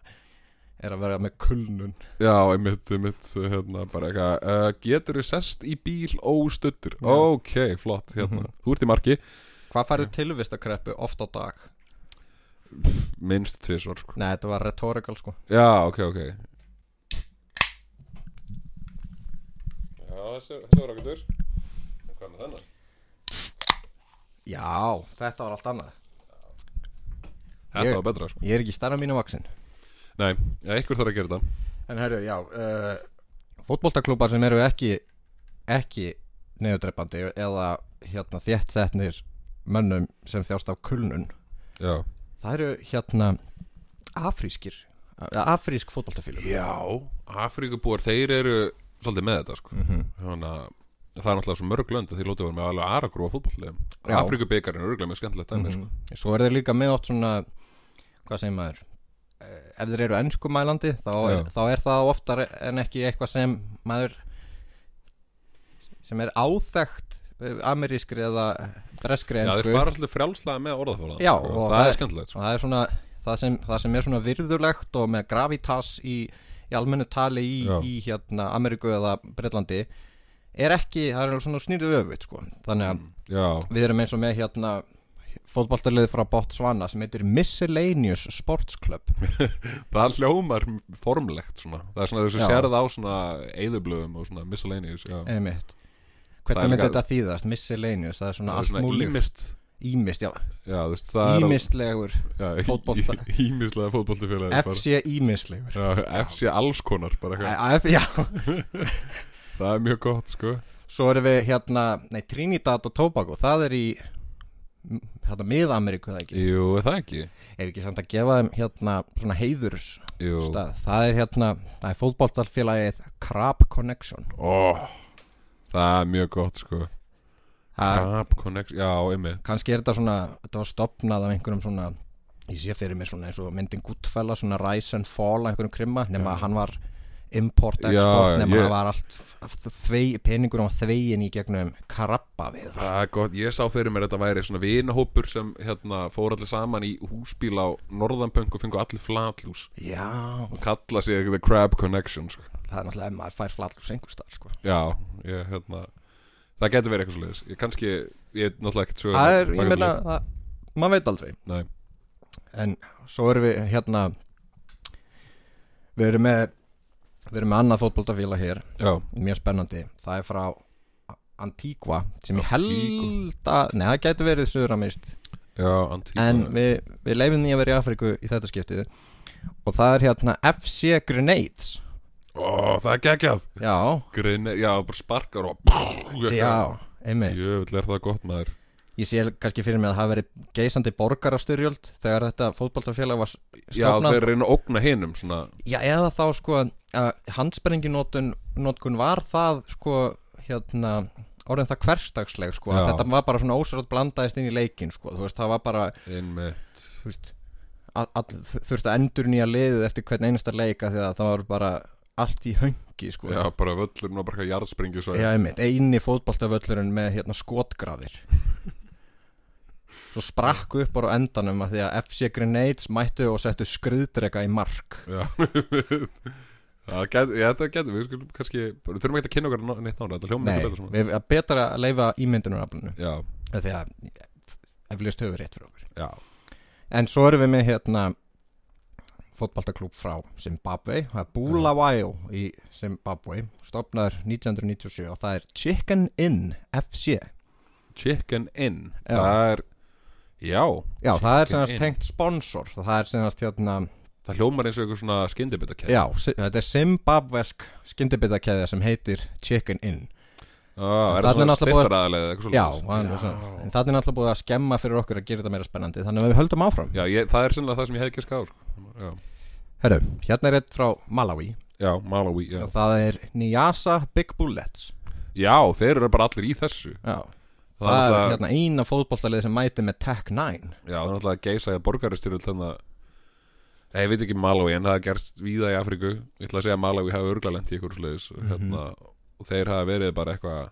Speaker 2: er að vera með kulnun
Speaker 1: Já, einmitt, einmitt hérna, bara eitthvað uh, Getur þið sest í bíl óstuttur? Ok, flott hérna.
Speaker 2: Mhm.
Speaker 1: Þú ert í marki
Speaker 2: Hvað færðu tilvistakreppu oft á dag?
Speaker 1: Minnst tvisvar sko.
Speaker 2: Nei, þetta var rhetorical sko
Speaker 1: Já, ok, ok Já, þessi, þessi var okkur Hvað með þennan?
Speaker 2: Já, þetta var allt annað
Speaker 1: Þetta
Speaker 2: Ég-
Speaker 1: var betra sko
Speaker 2: Ég er ekki starra mínu vaksin
Speaker 1: Nei, ja, einhver þarf að gera þetta
Speaker 2: En herru, já uh, Fótboltaklúpar sem eru ekki ekki neyðudreppandi eða hérna þéttsetnir mönnum sem þjást af kulnun
Speaker 1: Já,
Speaker 2: Það eru hérna afrískir eða afrísk fótboltafílur
Speaker 1: já Afríkubúar, þeir eru svolítið með þetta sko
Speaker 2: Mhm.
Speaker 1: Þannig að það er náttúrulega svo mörg lönd að því lótið voru með alveg aragrúa fótbolllegum
Speaker 2: Já.
Speaker 1: Afrikubikarinn er örgulega með skemmtilegt dæmi sko.
Speaker 2: Svo er þeir líka með oft svona hvað segir maður eh, ef þeir eru ennskumælandi þá,
Speaker 1: Já.
Speaker 2: þá er það oftar en ekki eitthvað sem maður sem er áþekkt eh, amerískri eða breskri
Speaker 1: Já, þeir
Speaker 2: ennsku
Speaker 1: fara alltaf frjálslega með orðafólan
Speaker 2: Já,
Speaker 1: sko.
Speaker 2: og
Speaker 1: það,
Speaker 2: það
Speaker 1: er
Speaker 2: er-
Speaker 1: skemmtilegt
Speaker 2: og
Speaker 1: sko.
Speaker 2: það er svona það sem, það sem er svona virðulegt og með gravitas í, í almennu tali í,
Speaker 1: Já.
Speaker 2: í hérna Ameríku eða Breitlandi er ekki, það er alveg svona snýrðu öfut sko. þannig að
Speaker 1: Já,
Speaker 2: Við erum eins og með hérna fótboltarlið frá Botswana sem heitir Miscellaneous Sports Club
Speaker 1: það hljómar formlegt svona. Það er svona þess
Speaker 2: Já.
Speaker 1: að sérða á svona eðublöðum og svona miscellaneous Já,
Speaker 2: einmitt
Speaker 1: Það er
Speaker 2: Hvernig myndi
Speaker 1: líka-
Speaker 2: þetta þýðast? Miscellaneous, það er svona
Speaker 1: það er
Speaker 2: allt
Speaker 1: svona
Speaker 2: múlið
Speaker 1: ímist
Speaker 2: Ímist, já,
Speaker 1: Já, þú veist, það er
Speaker 2: ímistlegur
Speaker 1: já,
Speaker 2: fótbolta.
Speaker 1: í- í- Ímislega fótboltafélagi
Speaker 2: FC ímistlegur
Speaker 1: FC alls konar bara,
Speaker 2: Æ,
Speaker 1: eitthvað.
Speaker 2: F- Já,
Speaker 1: Það er mjög gott sko.
Speaker 2: svo erum við hérna Nei, Trinidad og Tobago, það er í m- hérna Mið-Ameríku það ekki
Speaker 1: Jú, er það ekki
Speaker 2: Er ekki samt að gefa þeim hérna svona heiðurs
Speaker 1: Jú,
Speaker 2: stað Það er hérna, það er fótboltarfélagið Crab Connection
Speaker 1: Ó, það er mjög gott sko.
Speaker 2: Það er
Speaker 1: App Connection, já, einmitt
Speaker 2: kannski er þetta svona, þetta var stopnað af einhverjum svona, ég sé fyrir mér svona eins og myndin Goodfella, svona Rise and Fall af einhverjum krimma, nema að hann var import,
Speaker 1: Já,
Speaker 2: export, nema
Speaker 1: ég-
Speaker 2: að það var allt þvei, peningur á þvegin í gegnum karabba við
Speaker 1: Það er gott, ég sá fyrir mér að þetta væri svona vinahópur sem hérna fór allir saman í húsbíl á Norðanpönk og fengu allir flatlús
Speaker 2: Já,
Speaker 1: og kalla sig The Crab Connection sko.
Speaker 2: það er náttúrulega ef maður fær flatlús einhverstaðar sko.
Speaker 1: Já, ég hérna Það getur verið eitthvað svoleiðis Ég kannski, ég er náttúrulega ekkert sögur
Speaker 2: Það er, ég meina, það- maður veit aldrei.
Speaker 1: Nei,
Speaker 2: En svo erum við hérna, við erum með, við erum með annað fótboltafélag hér
Speaker 1: já,
Speaker 2: mjög spennandi það er frá Antíkva sem ég
Speaker 1: Antígva.
Speaker 2: held að nei það gæti verið suðramist
Speaker 1: já, antíma
Speaker 2: en við, við leifum því að vera í Afríku í þetta skiptið og það er hérna FC Grenades
Speaker 1: Ó, það er geggjað
Speaker 2: já,
Speaker 1: Grinni, já, bara sparkar og
Speaker 2: já, einmitt
Speaker 1: Jöfull er það gott maður
Speaker 2: ég sé kannski fyrir mig að það hafi verið geisandi borgarastyrjöld þegar þetta fótballtafélag var s-
Speaker 1: Já,
Speaker 2: stofnað
Speaker 1: þeir reyna að ógna hinum svona
Speaker 2: Já, eða þá sko að handsprenginótkun var það sko hérna orðin það hverstagsleg sko að
Speaker 1: Já.
Speaker 2: þetta var bara svona ósverðat blandaðist inn í leikin sko þú veist það var bara
Speaker 1: inn með
Speaker 2: þú veist all, all, þurfti að endur nýja liðið eftir hvern einasta leika því að það var bara allt í höngi sko
Speaker 1: Já, bara völlurinn og bara eitthvað jarðspringi svo
Speaker 2: Já, einmitt, eini fótboltavöllurinn með hérna skotgrafir svo sprakk upp bara á endanum að því að FC Grenades mættu og settu skriðdrega í mark
Speaker 1: Já, það getur, já, þetta getur, við skulum kannski, við þurfum ekki að kynna okkar ná- neitt náður, þetta hljóma
Speaker 2: Nei,
Speaker 1: mikið betur svona.
Speaker 2: við erum betra sko. að leifa ímyndunaraflunum
Speaker 1: Já,
Speaker 2: því að eflust höfum við rétt fyrir okkur
Speaker 1: já,
Speaker 2: en svo erum við með hérna fótbaltaklúb frá Zimbabwe það er Bulawayo í Zimbabwe stopnaður 1997 og það er Chicken Inn FC
Speaker 1: Chicken Inn
Speaker 2: Já.
Speaker 1: Það er, já
Speaker 2: Já, það er
Speaker 1: Chicken
Speaker 2: sem
Speaker 1: Inn.
Speaker 2: sagt tengt sponsor það er sem sagt hérna
Speaker 1: Það hljómar eins og eitthvað svona skyndibitakeið
Speaker 2: já, si- þetta er Zimbabwesk skyndibitakeðja sem heitir Chicken Inn
Speaker 1: ah, Er
Speaker 2: Þarna er
Speaker 1: það svona
Speaker 2: náttúrulega búið-
Speaker 1: styrtaræðilega eitthvað
Speaker 2: Já,
Speaker 1: svoleiðis?
Speaker 2: það er nú svona. en það er náttúrulega búið að skemma fyrir okkur að gera þetta meira spennandi þannig að við höldum áfram
Speaker 1: Já, ég, það er sennilega það sem ég hefði ekki skáð Já,
Speaker 2: Herru, hérna er eitt frá Malawi
Speaker 1: já Malawi já.
Speaker 2: og það er Nyasa Big Bullets
Speaker 1: já, þeir eru bara allir í þessu
Speaker 2: Já,
Speaker 1: Það er
Speaker 2: það, er
Speaker 1: náttúrulega-
Speaker 2: hérna eina fótboltalið sem mæti með Tech 9
Speaker 1: Já, það er náttúrulega að geisa að borgaristyrjöld þannig að Nei, ég veit ekki um Malawi en það er gerst víða í Afríku Ég ætla að segja að Malawi hafi örglalent í eitthvað sliðis
Speaker 2: Mhm.
Speaker 1: hérna, og þeir hafi verið bara eitthvað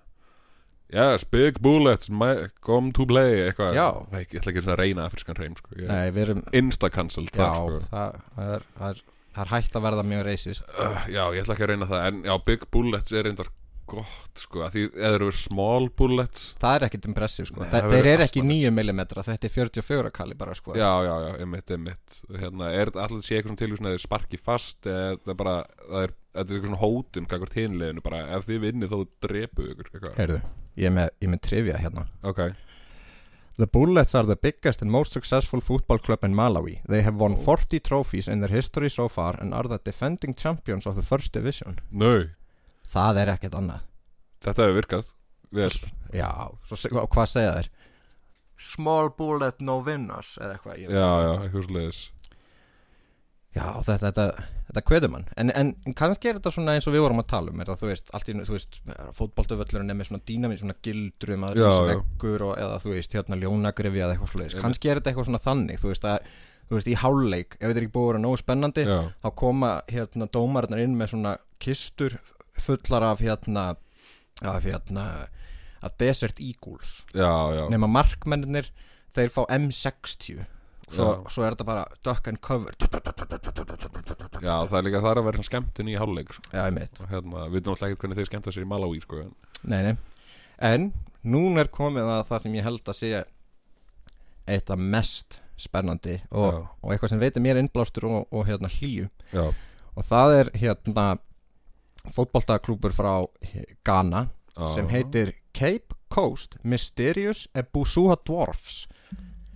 Speaker 1: Yes, big bullets, my, come to play eitthvað
Speaker 2: Já.
Speaker 1: Nei, Ég ætla ekki svona að reyna afrískan reym sko. Ég-
Speaker 2: Nei, við erum
Speaker 1: Insta-cancelled
Speaker 2: Já,
Speaker 1: þar sko.
Speaker 2: það, það, er, það, er, það er hægt að verða mjög reisist
Speaker 1: uh, Já, ég ætla ekki að reyna það En já, big bullets er reyndar gott sko, að Því eða eru small bullets
Speaker 2: Það er ekkit impressið sko
Speaker 1: Nei,
Speaker 2: Þe-
Speaker 1: það
Speaker 2: Þeir
Speaker 1: verður
Speaker 2: eru ekki
Speaker 1: asnalegt.
Speaker 2: 9 mm, þetta er 44 kalibra sko
Speaker 1: Já, já, já, einmitt, einmitt hérna, Er allir sé eitthvað tilvísun að þeir sparki fast eða það er bara, það er, þetta er eitthvað svona hótun kakvart hinleginu, bara ef þið vinnið þá drepu ykkur, eitthvað
Speaker 2: Heyrðu, ég er með, ég er með trivia hérna
Speaker 1: Ok,
Speaker 2: The Bullets are the biggest and most successful football club in Malawi. They have won 40 trophies in their history so far and are the defending champions of the first division.
Speaker 1: nö,
Speaker 2: Það er ekkert annað.
Speaker 1: þetta hefur virkað Vel,
Speaker 2: Já, svo se- og hvað segja þeir? Small bullet, no winners, eða eitthvað. ég veit.
Speaker 1: já, já, eitthvað svoleiðis
Speaker 2: Já, þetta, þetta, þetta kveður mann. En, en kannski er þetta svona eins og við vorum að tala um, er það, þú veist, allt í, einu, þú veist, fótboltavöllurinn er með svona dýnamið, svona gildrum, að
Speaker 1: Já,
Speaker 2: svona
Speaker 1: já.
Speaker 2: sveggur og, eða, þú veist, hérna ljónagrifja eða eitthvað svoleiðis.
Speaker 1: Einmitt.
Speaker 2: Kannski er þetta eitthvað svona þannig, þú veist, að, þú veist, í háluleik, ef þetta er ekki búið að vera nógu spennandi,
Speaker 1: Já,
Speaker 2: þá koma hérna dómarinnar inn með svona kistur fullar af hérna af hérna af Desert Eagles
Speaker 1: já, já
Speaker 2: nema markmennir þeir fá M60 svo,
Speaker 1: Já.
Speaker 2: svo er þetta bara duck and cover
Speaker 1: Já, það er líka það er að vera skemmtun í hálfleik sko.
Speaker 2: já, ég meit,
Speaker 1: og hérna, við veitum alltaf ekkert hvernig þeir skemmta sér í Malawi sko. en-
Speaker 2: nei, nei en núna er komið að það sem ég held að sé eitt af mest spennandi og,
Speaker 1: Já.
Speaker 2: og eitthvað sem veitir mér innblástur og, og hérna hlýju
Speaker 1: Já,
Speaker 2: og það er hérna fótboltaklúpur frá eh, Ghana
Speaker 1: já
Speaker 2: sem heitir Cape Coast Mysterious Ebusua Dwarfs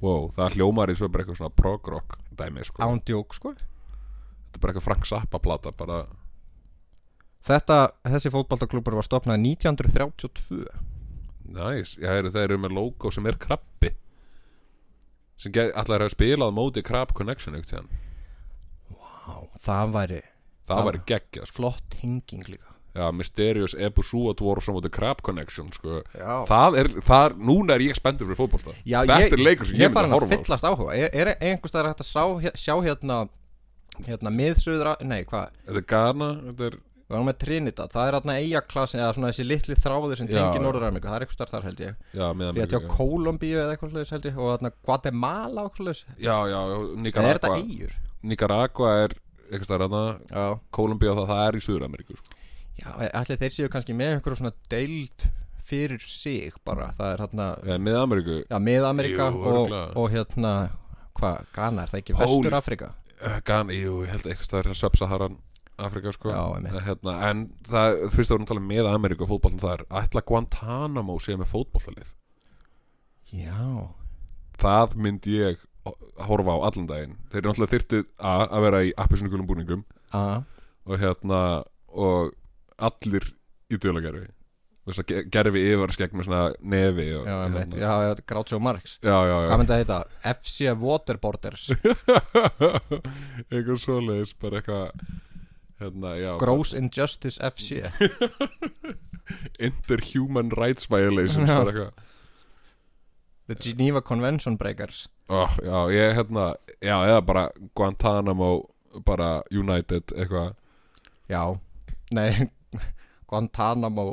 Speaker 1: Wow, það hljómar í svo bara eitthvað svona prog-rock dæmi sko.
Speaker 2: ándjók sko
Speaker 1: Þetta er bara eitthvað Frank Zappa plata bara,
Speaker 2: Þetta, þessi fótbaltaklúpur var stopnað 1932
Speaker 1: Næs, já, heyrðu, það eru með logo sem er krabbi sem get, allar hefur spilað móti Crab Connection eitt hérna
Speaker 2: Á, það væri
Speaker 1: það
Speaker 2: Já.
Speaker 1: væri geggjað, sko.
Speaker 2: flott henging líka
Speaker 1: já, Mysterious Ebusua Dwarfs á móti Crab Connection sko.
Speaker 2: Já.
Speaker 1: það er, það er, núna er ég spenntur fyrir fótbolta þetta
Speaker 2: ég,
Speaker 1: er leikur sem ég,
Speaker 2: ég
Speaker 1: myndi
Speaker 2: farin
Speaker 1: að
Speaker 2: að
Speaker 1: horfa á sko.
Speaker 2: fyllast áhuga Er, er einhvers staðar hægt að sá, hér- sjá hérna hérna miðsöðra, nei hvað
Speaker 1: þetta er Ghana, þetta er
Speaker 2: við varum með Trinidad, það er hérna eigaklasin eða svona þessi litli þráður sem
Speaker 1: Já,
Speaker 2: tengi
Speaker 1: já.
Speaker 2: Norður-Ameríku, það er einhvers staðar þar held ég
Speaker 1: já, meðan
Speaker 2: Rétt hjá Kólumbíu eða eitthvað slags held ég og hérna Guatemala og eitthvað slags
Speaker 1: já, já, já,
Speaker 2: Eða er þetta
Speaker 1: Nicaragua
Speaker 2: eigur?
Speaker 1: Nicaragua er, eitthvað stær hana
Speaker 2: Já
Speaker 1: Kolumbíu og það, það er í Suður-Ameríku sko.
Speaker 2: Já, allir þeir séu kannski með einhverjum svona deild fyrir sig bara, það er hérna
Speaker 1: eða mið-Ameríku,
Speaker 2: já, Mið-Amerika
Speaker 1: Jú,
Speaker 2: og,
Speaker 1: örugglega.
Speaker 2: og hérna hvað, Ghana, er það ekki
Speaker 1: Hól.
Speaker 2: Vestur-Afrika?
Speaker 1: Uh, Ghana, jú, ég held að eitthvað staðar Sub-Saharan Afrika sko
Speaker 2: Já, einmitt.
Speaker 1: Eh, hérna, En það, þú veist það vorum að tala um með Ameríku og fótboltan þar Ætla Guantanamo sé með fótboltalið
Speaker 2: Já,
Speaker 1: Það myndi ég ho- horfa á allan daginn Þeir eru náttúrulega þyrtu A að vera í appisunugulum búningum
Speaker 2: a,
Speaker 1: Og hérna, og allir í dölagerfi Þess að ge- gerfi yfir skegg með svona nefi og,
Speaker 2: já,
Speaker 1: hérna.
Speaker 2: meitt, já, já Grátsjó Marx
Speaker 1: já, já, já.
Speaker 2: Hvað myndi að heita? FC Waterboarders
Speaker 1: Eitthvað svoleiðis, bara eitthvað Hérna, já
Speaker 2: Gross Injustice FC
Speaker 1: Interhuman Rights Violations
Speaker 2: Já.
Speaker 1: bara eitthvað
Speaker 2: The Geneva Convention Breakers
Speaker 1: oh, Já, ég hérna Já, eða bara Guantanamo bara United eitthvað
Speaker 2: Já, nei Guantanamo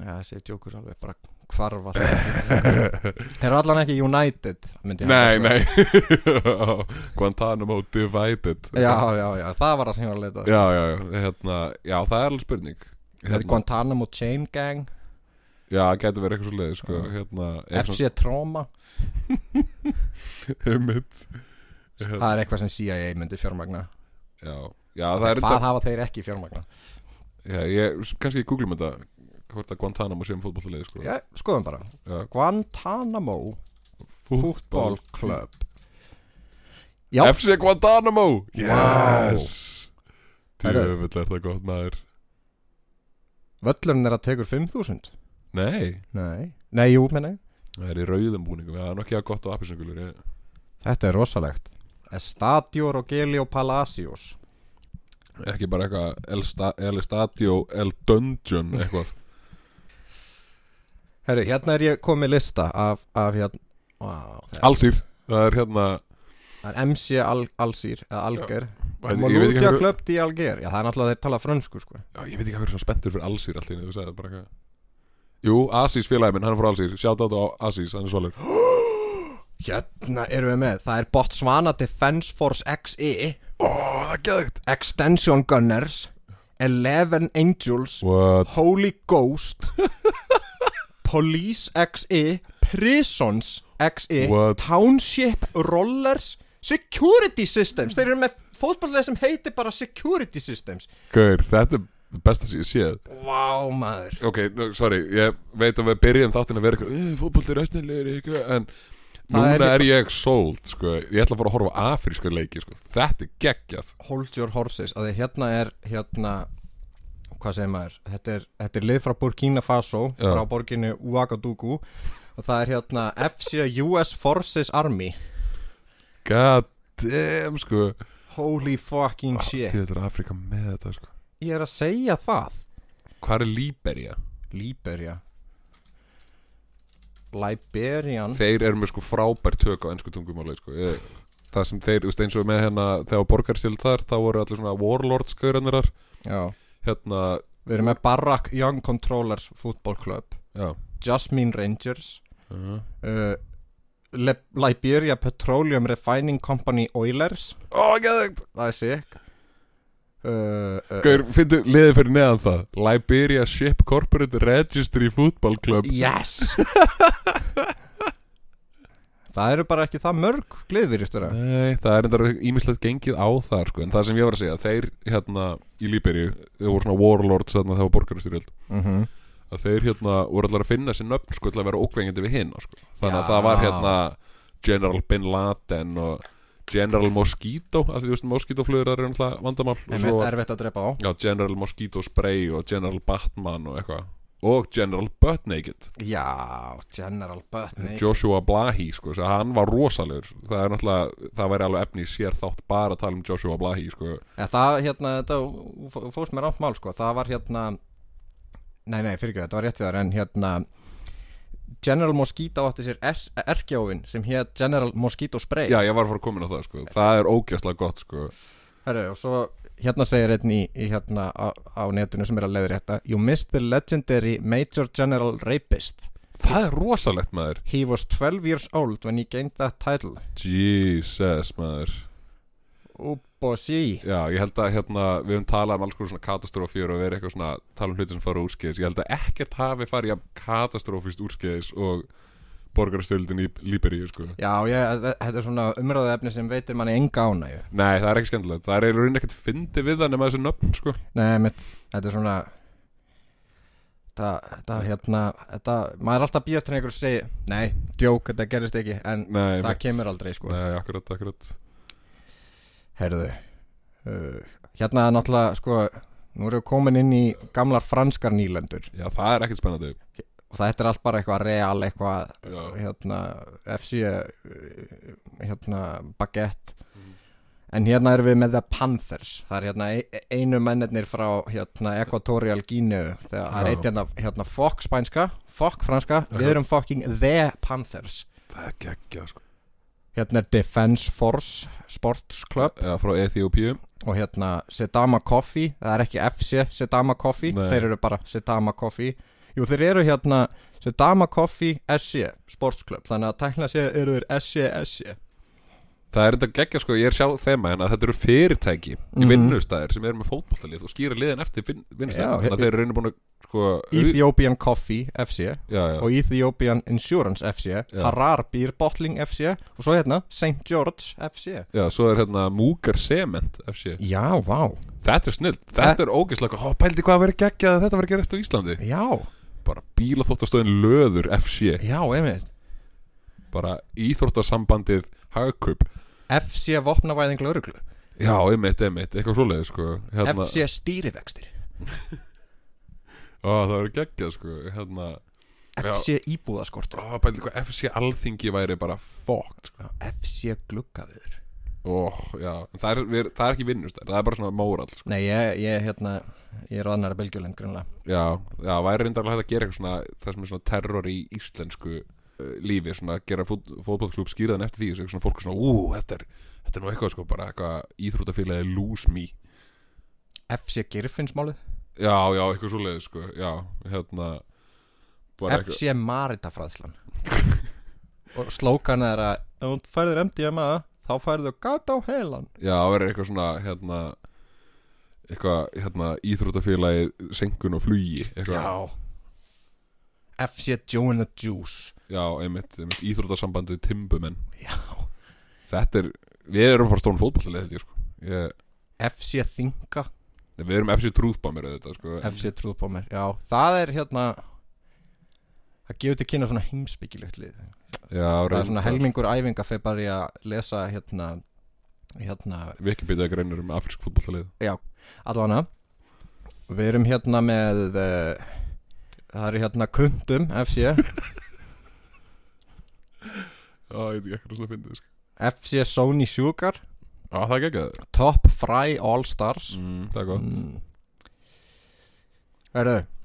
Speaker 2: Já, þessi djókur alveg bara hvarfa Þeir eru allan ekki United myndi ég halda,
Speaker 1: Nei,
Speaker 2: sko.
Speaker 1: nei Guantanamo Divided
Speaker 2: Já, já, já, það var það sem ég var að leita að.
Speaker 1: Já, hérna. já, hérna Já, það er alveg spurning
Speaker 2: Þetta er Guantanamo Chain Gang
Speaker 1: Já, getur verið eitthvað svo leið sko,
Speaker 2: Já.
Speaker 1: hérna,
Speaker 2: FC Trauma
Speaker 1: Heimitt
Speaker 2: það er eitthvað sem CIA myndi fjármagna
Speaker 1: Hérna, já, já það er
Speaker 2: hvað
Speaker 1: þetta
Speaker 2: hafa þeir ekki fjármagna
Speaker 1: já, ég, kannski ég googlum þetta hvort að Guantanamo sé um fótbollaliði sko.
Speaker 2: já, skoðum bara
Speaker 1: Já.
Speaker 2: Guantanamo Football Club já,
Speaker 1: FC Guantanamo
Speaker 2: Vá.
Speaker 1: yes
Speaker 2: Herru.
Speaker 1: djöfull er það gott maður
Speaker 2: völlurinn er að tekur 5000
Speaker 1: nei,
Speaker 2: nei, nei, jú, menna ég.
Speaker 1: það er í rauðum búningum það er nokkið að gott á appisengulur ég
Speaker 2: þetta er rosalegt Estadio Rogelio Palacios
Speaker 1: ekki bara eitthvað El, sta, el Estadio, El Dungeon eitthvað
Speaker 2: herru, hérna er ég komið lista af, af hérna wow, það
Speaker 1: Allsýr, það er hérna
Speaker 2: það er MC Al Alsir eða Alger
Speaker 1: ég veit ekki
Speaker 2: Molúdja
Speaker 1: hverju-
Speaker 2: Club di Alger já, það er náttúrulega þeir tala fransku sko.
Speaker 1: já, ég veit ekki hvað er svona spenntur fyrir Allsýr allt í einu, þú sagði bara eitthvað Jú, Asís félagi minn, hann er frá Allsýr Sjátt á Asís, hann er svolur
Speaker 2: hérna erum við með það er Botswana Defense Force XE
Speaker 1: Ó, það er geðugt
Speaker 2: Extension Gunners Eleven Angels
Speaker 1: What?
Speaker 2: Holy Ghost Police XE Prisons XE
Speaker 1: What?
Speaker 2: Township Rollers Security Systems Þeir eru með fótballlega sem heitir bara Security Systems
Speaker 1: Gaur, þetta er það besta sem ég séð
Speaker 2: Vá maður
Speaker 1: Ok, no, sorry, ég veit að við byrjum þáttin að vera eitthvað Fótbolt er östnilegir eitthvað En núna
Speaker 2: er
Speaker 1: er,
Speaker 2: líka-
Speaker 1: ég sold, sko Ég ætla að fara að horfa á afríska leiki, sko Þetta er geggjað
Speaker 2: Hold your horses að því hérna er hérna hvað segir maður þetta er, þetta er lið frá Burkina Faso
Speaker 1: Já.
Speaker 2: frá borginni Ouagadougou og það er hérna FC US Forces Army
Speaker 1: God damn, sko
Speaker 2: Holy fucking Ah, shit
Speaker 1: Því þetta er Afríka með þetta, sko
Speaker 2: Ég er að segja það
Speaker 1: Hvað er Líberja?
Speaker 2: Liberia Liberian
Speaker 1: Þeir eru með sko frábær tök á ennsku tungumáli sko. ég, Það sem þeir, þú veist eins og með hérna Þegar borgarstild þar, þá voru allir svona Warlords gauranirar
Speaker 2: Já.
Speaker 1: Hérna,
Speaker 2: Við erum með Barack Young Controllers Football Club
Speaker 1: já
Speaker 2: Jasmine Rangers
Speaker 1: uh.
Speaker 2: uh, Le Liberia Petroleum Refining Company Oilers
Speaker 1: Ó, geðvægt
Speaker 2: Það er sick uh, uh,
Speaker 1: Gaur, finnstu liðið fyrir neðan það Liberia Ship Corporate Registry Football Club
Speaker 2: Yes Það eru bara ekki það mörg Gleðvirist vera
Speaker 1: Nei, það er endar ímislegt gengið á þar sko. En það sem ég var að segja, þeir hérna Í Líberju, þeir voru svona Warlords Þannig að það var borgarstild
Speaker 2: mm -hmm.
Speaker 1: að þeir hérna voru allar að finna sér nöfn sko til að vera ókvengjandi við hinn sko. þannig að
Speaker 2: Já.
Speaker 1: það var hérna General Bin Laden og General Mosquito af því þú veist Mosquito-flugur það er náttúrulega vandamál og svo
Speaker 2: Svo...
Speaker 1: var,
Speaker 2: Erfitt að drepa á
Speaker 1: já, General Mosquito Spray og General Batman og eitthvað og General Butt Naked
Speaker 2: Já, General Butney
Speaker 1: Joshua Blahi sko, svo hann var rosalegur það er náttúrulega, það væri alveg efni í sér þátt bara að tala um Joshua Blahi sko.
Speaker 2: En það, hérna, þetta þú fó- fórst með rámt mál, sko, það var hérna, nei, nei, fyrir ekki, þetta var rétt við þar, en hérna, General Mosquito átti sér er- erkjáfin sem hétt General Mosquito Spray.
Speaker 1: já, ég var að fara að koma inn á það sko. það er ógæslega gott sko.
Speaker 2: Herru, og svo hérna segir einn í, í hérna á, á netinu sem er að leiðri þetta, You missed the legendary Major General Rapist.
Speaker 1: það er rosalegt maður
Speaker 2: He was 12 years old when he gained that title.
Speaker 1: Jesus maður
Speaker 2: Úbosí.
Speaker 1: Já, ég held að hérna, við höfum talað um alls konar svona katastrófjör og verið eitthvað svona tala um hluti sem fara úrskeiðis. Ég held að ekkert hafi farið jafn katastrófist úrskeiðis og borgarastöldin í Líberíu, sko.
Speaker 2: Já, ég, þetta er svona umræðu efni sem veitir manni enga ánægju.
Speaker 1: Nei, það er ekki skemmtilegt. Það er í rauninni ekkert fyndi við það nema þessi nöfn, sko.
Speaker 2: Nei, mitt, þetta er svona Þetta, þetta, hérna þetta, Maður er alltaf býð eftir einhverju að segja Nei, djók, þetta gerist ekki En
Speaker 1: Nei,
Speaker 2: það
Speaker 1: mitt.
Speaker 2: kemur aldrei, sko
Speaker 1: Nei, akkurat, akkurat.
Speaker 2: Heyrðu uh, Hérna er náttúrulega, sko Nú erum við komin inn í gamlar franskar nýlendur
Speaker 1: Já, það er ekkert spennandi.
Speaker 2: Og þetta er allt bara eitthvað real, eitthvað
Speaker 1: Já,
Speaker 2: Hérna, FC uh, Hérna, baguette
Speaker 1: Mhm.
Speaker 2: En hérna erum við með The Panthers Það er hérna e- einu mennirnir frá hérna Equatorial Guinea Þegar það er
Speaker 1: Já.
Speaker 2: eitt hérna, hérna Fokk spænska, Fokk franska Við
Speaker 1: Já.
Speaker 2: erum fucking The Panthers
Speaker 1: það er geggja, sko.
Speaker 2: Hérna er Defense Force Sports Club
Speaker 1: Já, frá Eþjópíu.
Speaker 2: Og hérna Sedama Coffee Það er ekki FC Sedama Coffee
Speaker 1: Nei.
Speaker 2: Þeir eru bara Sedama Coffee Jú þeir eru hérna Sedama Coffee SC Sports Club Þannig að tækna sér eru þeir SC SC
Speaker 1: Það er enda geggja sko, ég er sjá þema hérna að þetta eru fyrirtæki í
Speaker 2: Mhm.
Speaker 1: vinnustæðir sem eru með fótbollalið og skýra liðin eftir vinn-
Speaker 2: Já,
Speaker 1: vinnustæðir þannig að
Speaker 2: he-
Speaker 1: þeir eru einu búin að sko au-
Speaker 2: Ethiopian Coffee FC
Speaker 1: já, já,
Speaker 2: og Ethiopian Insurance FC Harar Beer Bottling FC og svo hérna St. George FC
Speaker 1: já, svo er hérna Múgar Cement FC
Speaker 2: Já, vá
Speaker 1: Þetta er snill, þetta er ógeðslega Ó, pældi hvað að vera geggjað að þetta var að gera eftir á Íslandi
Speaker 2: Já,
Speaker 1: Bara bílaþóttastöðin löður FC
Speaker 2: já, einmitt
Speaker 1: Bara íþróttasambandið hagkaup
Speaker 2: FC Vopnavæðing Löruglu
Speaker 1: Já, einmitt, einmitt, eitthvað svoleiði sko hérna,
Speaker 2: FC Stýrivextir
Speaker 1: Ó, það verður geggjað sko hérna, Já.
Speaker 2: FC Íbúðaskortur
Speaker 1: Ó, pældi hvað FC Alþingi væri bara fókt sko.
Speaker 2: FC Gluggaviður
Speaker 1: Ó, já, en það er, við, það er ekki vinnustæðir Það er bara svona móral sko.
Speaker 2: Nei, ég, ég, hérna, ég er aðnæra belgjuleng grunlega
Speaker 1: Já, já, væri reyndarlega hægt að gera eitthvað svona Það sem er svona terror í íslensku uh, lífi Svona að gera fót, fótbollklub skýraðan eftir því Svona fólk er svona, ú, þetta er Þetta er nú eitthvað sko, bara eitthvað íþróttafélagi Lose me
Speaker 2: FC Girfinnsmálið
Speaker 1: Já, já, eitthvað svoleiði sko, já, hérna bara eitthvað-
Speaker 2: FC Maritafræðslan og slókan er að ef hún færður MDMA þá færðu gata á heilan
Speaker 1: Já, það verður eitthvað svona, hérna eitthvað, hérna, íþróttafélagi senkun og flugi, eitthvað
Speaker 2: FC Joe and the Juice
Speaker 1: já einmitt, einmitt íþróttasambandið timbumenn
Speaker 2: Já.
Speaker 1: Þetta er, við erum fara stón fótbollið held ég sko ég,
Speaker 2: FC Þinga
Speaker 1: nei, Við erum FC trúðbámir þetta sko en-
Speaker 2: FC Trúðbómir Já, það er hérna það gefur til kynna svona heimsbyggilegt lið
Speaker 1: Já,
Speaker 2: það er svona helmingur æfinga fyrir bara í að lesa hérna hérna,
Speaker 1: Við ekki byrjaði greinir um afrisk fótbollið
Speaker 2: allavega við erum hérna með uh, það eru hérna kundum FC
Speaker 1: Já, ég veit ekki eitthvað svona fyndið sko
Speaker 2: FC Sony Sugar
Speaker 1: Já, það er ekki það
Speaker 2: Top Fry All Stars
Speaker 1: mm, Það er gott
Speaker 2: mm. Verðu Mm.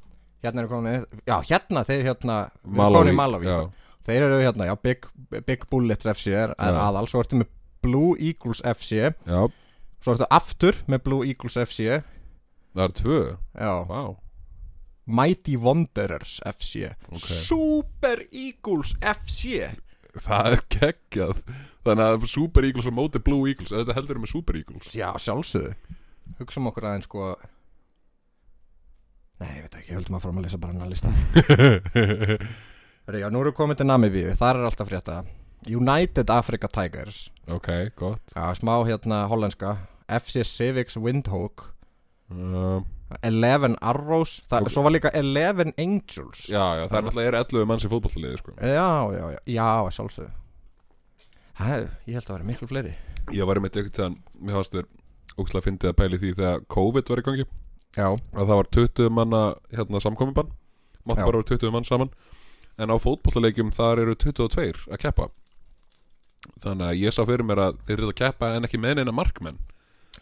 Speaker 2: Hérna eru komin Já, hérna, þeir hérna við erum komin í Malawi
Speaker 1: Já,
Speaker 2: Þeir eru hérna, já, Big, Big Bullets FC er er
Speaker 1: Já.
Speaker 2: aðal Svo ertu með Blue Eagles FC
Speaker 1: já,
Speaker 2: Svo ertu aftur með Blue Eagles FC Já
Speaker 1: það er tvö Vá,
Speaker 2: Mighty Wanderers FC
Speaker 1: Ok.
Speaker 2: Super Eagles FC
Speaker 1: það er geggjað Þannig að Super Eagles og móti Blue Eagles Ef Þetta heldur um með Super Eagles
Speaker 2: Já, sjálfsögðu Hugsum okkur aðeins sko Nei, ég veit ekki, höldum að fara að lesa bara hennar lista Hörru, já, nú erum við komin til Namibíu, þar er alltaf frétta United Africa Tigers
Speaker 1: Ok, gott
Speaker 2: Já, smá hérna hollenska FC Civics Windhoek
Speaker 1: um,
Speaker 2: Eleven Arrows Þa,
Speaker 1: Ok.
Speaker 2: Svo var líka Eleven Angels
Speaker 1: Já, já, það er náttúrulega er 11 manns í fótbollið sko
Speaker 2: já, já, já, já sjálfsögðu Hæ, ég held að það vera miklu fleiri
Speaker 1: Ég var einmitt ekkert þegar Mér hafðast verið ógstlega fyndið að pæli því þegar COVID var í gangi
Speaker 2: Já,
Speaker 1: að það var 20 manna hérna, samkomibann mátt
Speaker 2: Já.
Speaker 1: bara vera 20 mann saman en á fótbollaleikjum þar eru 22 að keppa þannig að ég sá fyrir mér að þeir eru að keppa en ekki með neina markmenn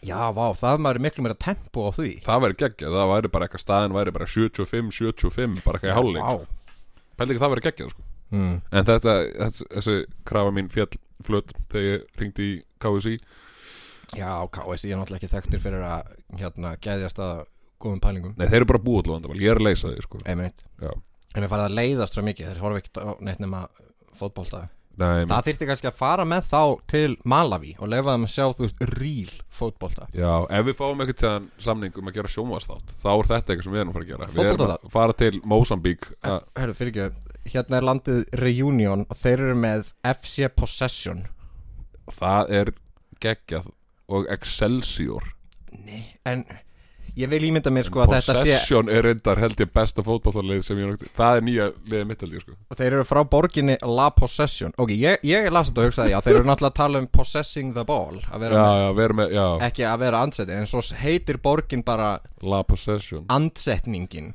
Speaker 2: já, vá, það maður er miklu meira tempo á því
Speaker 1: það væri geggjað, það væri bara eitthvað staðin væri bara 75-75, bara eitthvað í hálfleik pæli ekki það væri geggjað sko.
Speaker 2: mm.
Speaker 1: en þetta, þess, þessi krafa mín fjall flött þegar ég ringdi í KSI
Speaker 2: Já, KSI er náttúrulega ekki þekktir fyrir að hérna, gæðjast að góðum pælingum
Speaker 1: nei þeir eru bara búið allavega vandamál, ég er að leysa því sko.
Speaker 2: Einmitt
Speaker 1: Já.
Speaker 2: En við farið að leiðast svo mikið, þeir horfa ekkert á neitt nema fótbolta
Speaker 1: nei,
Speaker 2: Það þyrfti kannski að fara með þá til Malawi og leifa þeim að sjá, þú veist, real fótbolta
Speaker 1: Já, ef við fáum eitthvað tíðan samning um að gera sjónvarsþátt þá er þetta eitthvað sem við erum að fara að gera Við erum að
Speaker 2: Fótboltaþátt?
Speaker 1: fara til Mosambík að,
Speaker 2: Hörru, fyrir ekki, hérna er landið Reunion og þeir eru með FC Possession
Speaker 1: Það er geggjað og Excelsior
Speaker 2: Nei En ég vil ímynda mér sko að þetta sé
Speaker 1: Possession er reyndar held ég besta fótballtarlið sem ég nokti Það er nýja liðið mitt held ég sko
Speaker 2: og þeir eru frá borginni La Possession Ok, ég, ég las þetta og hugsaði, já, þeir eru náttúrulega að tala um possessing the ball
Speaker 1: Já,
Speaker 2: að vera
Speaker 1: já, við erum með, já,
Speaker 2: ekki að vera andsetning en svo heitir borgin bara
Speaker 1: La Possession
Speaker 2: andsetningin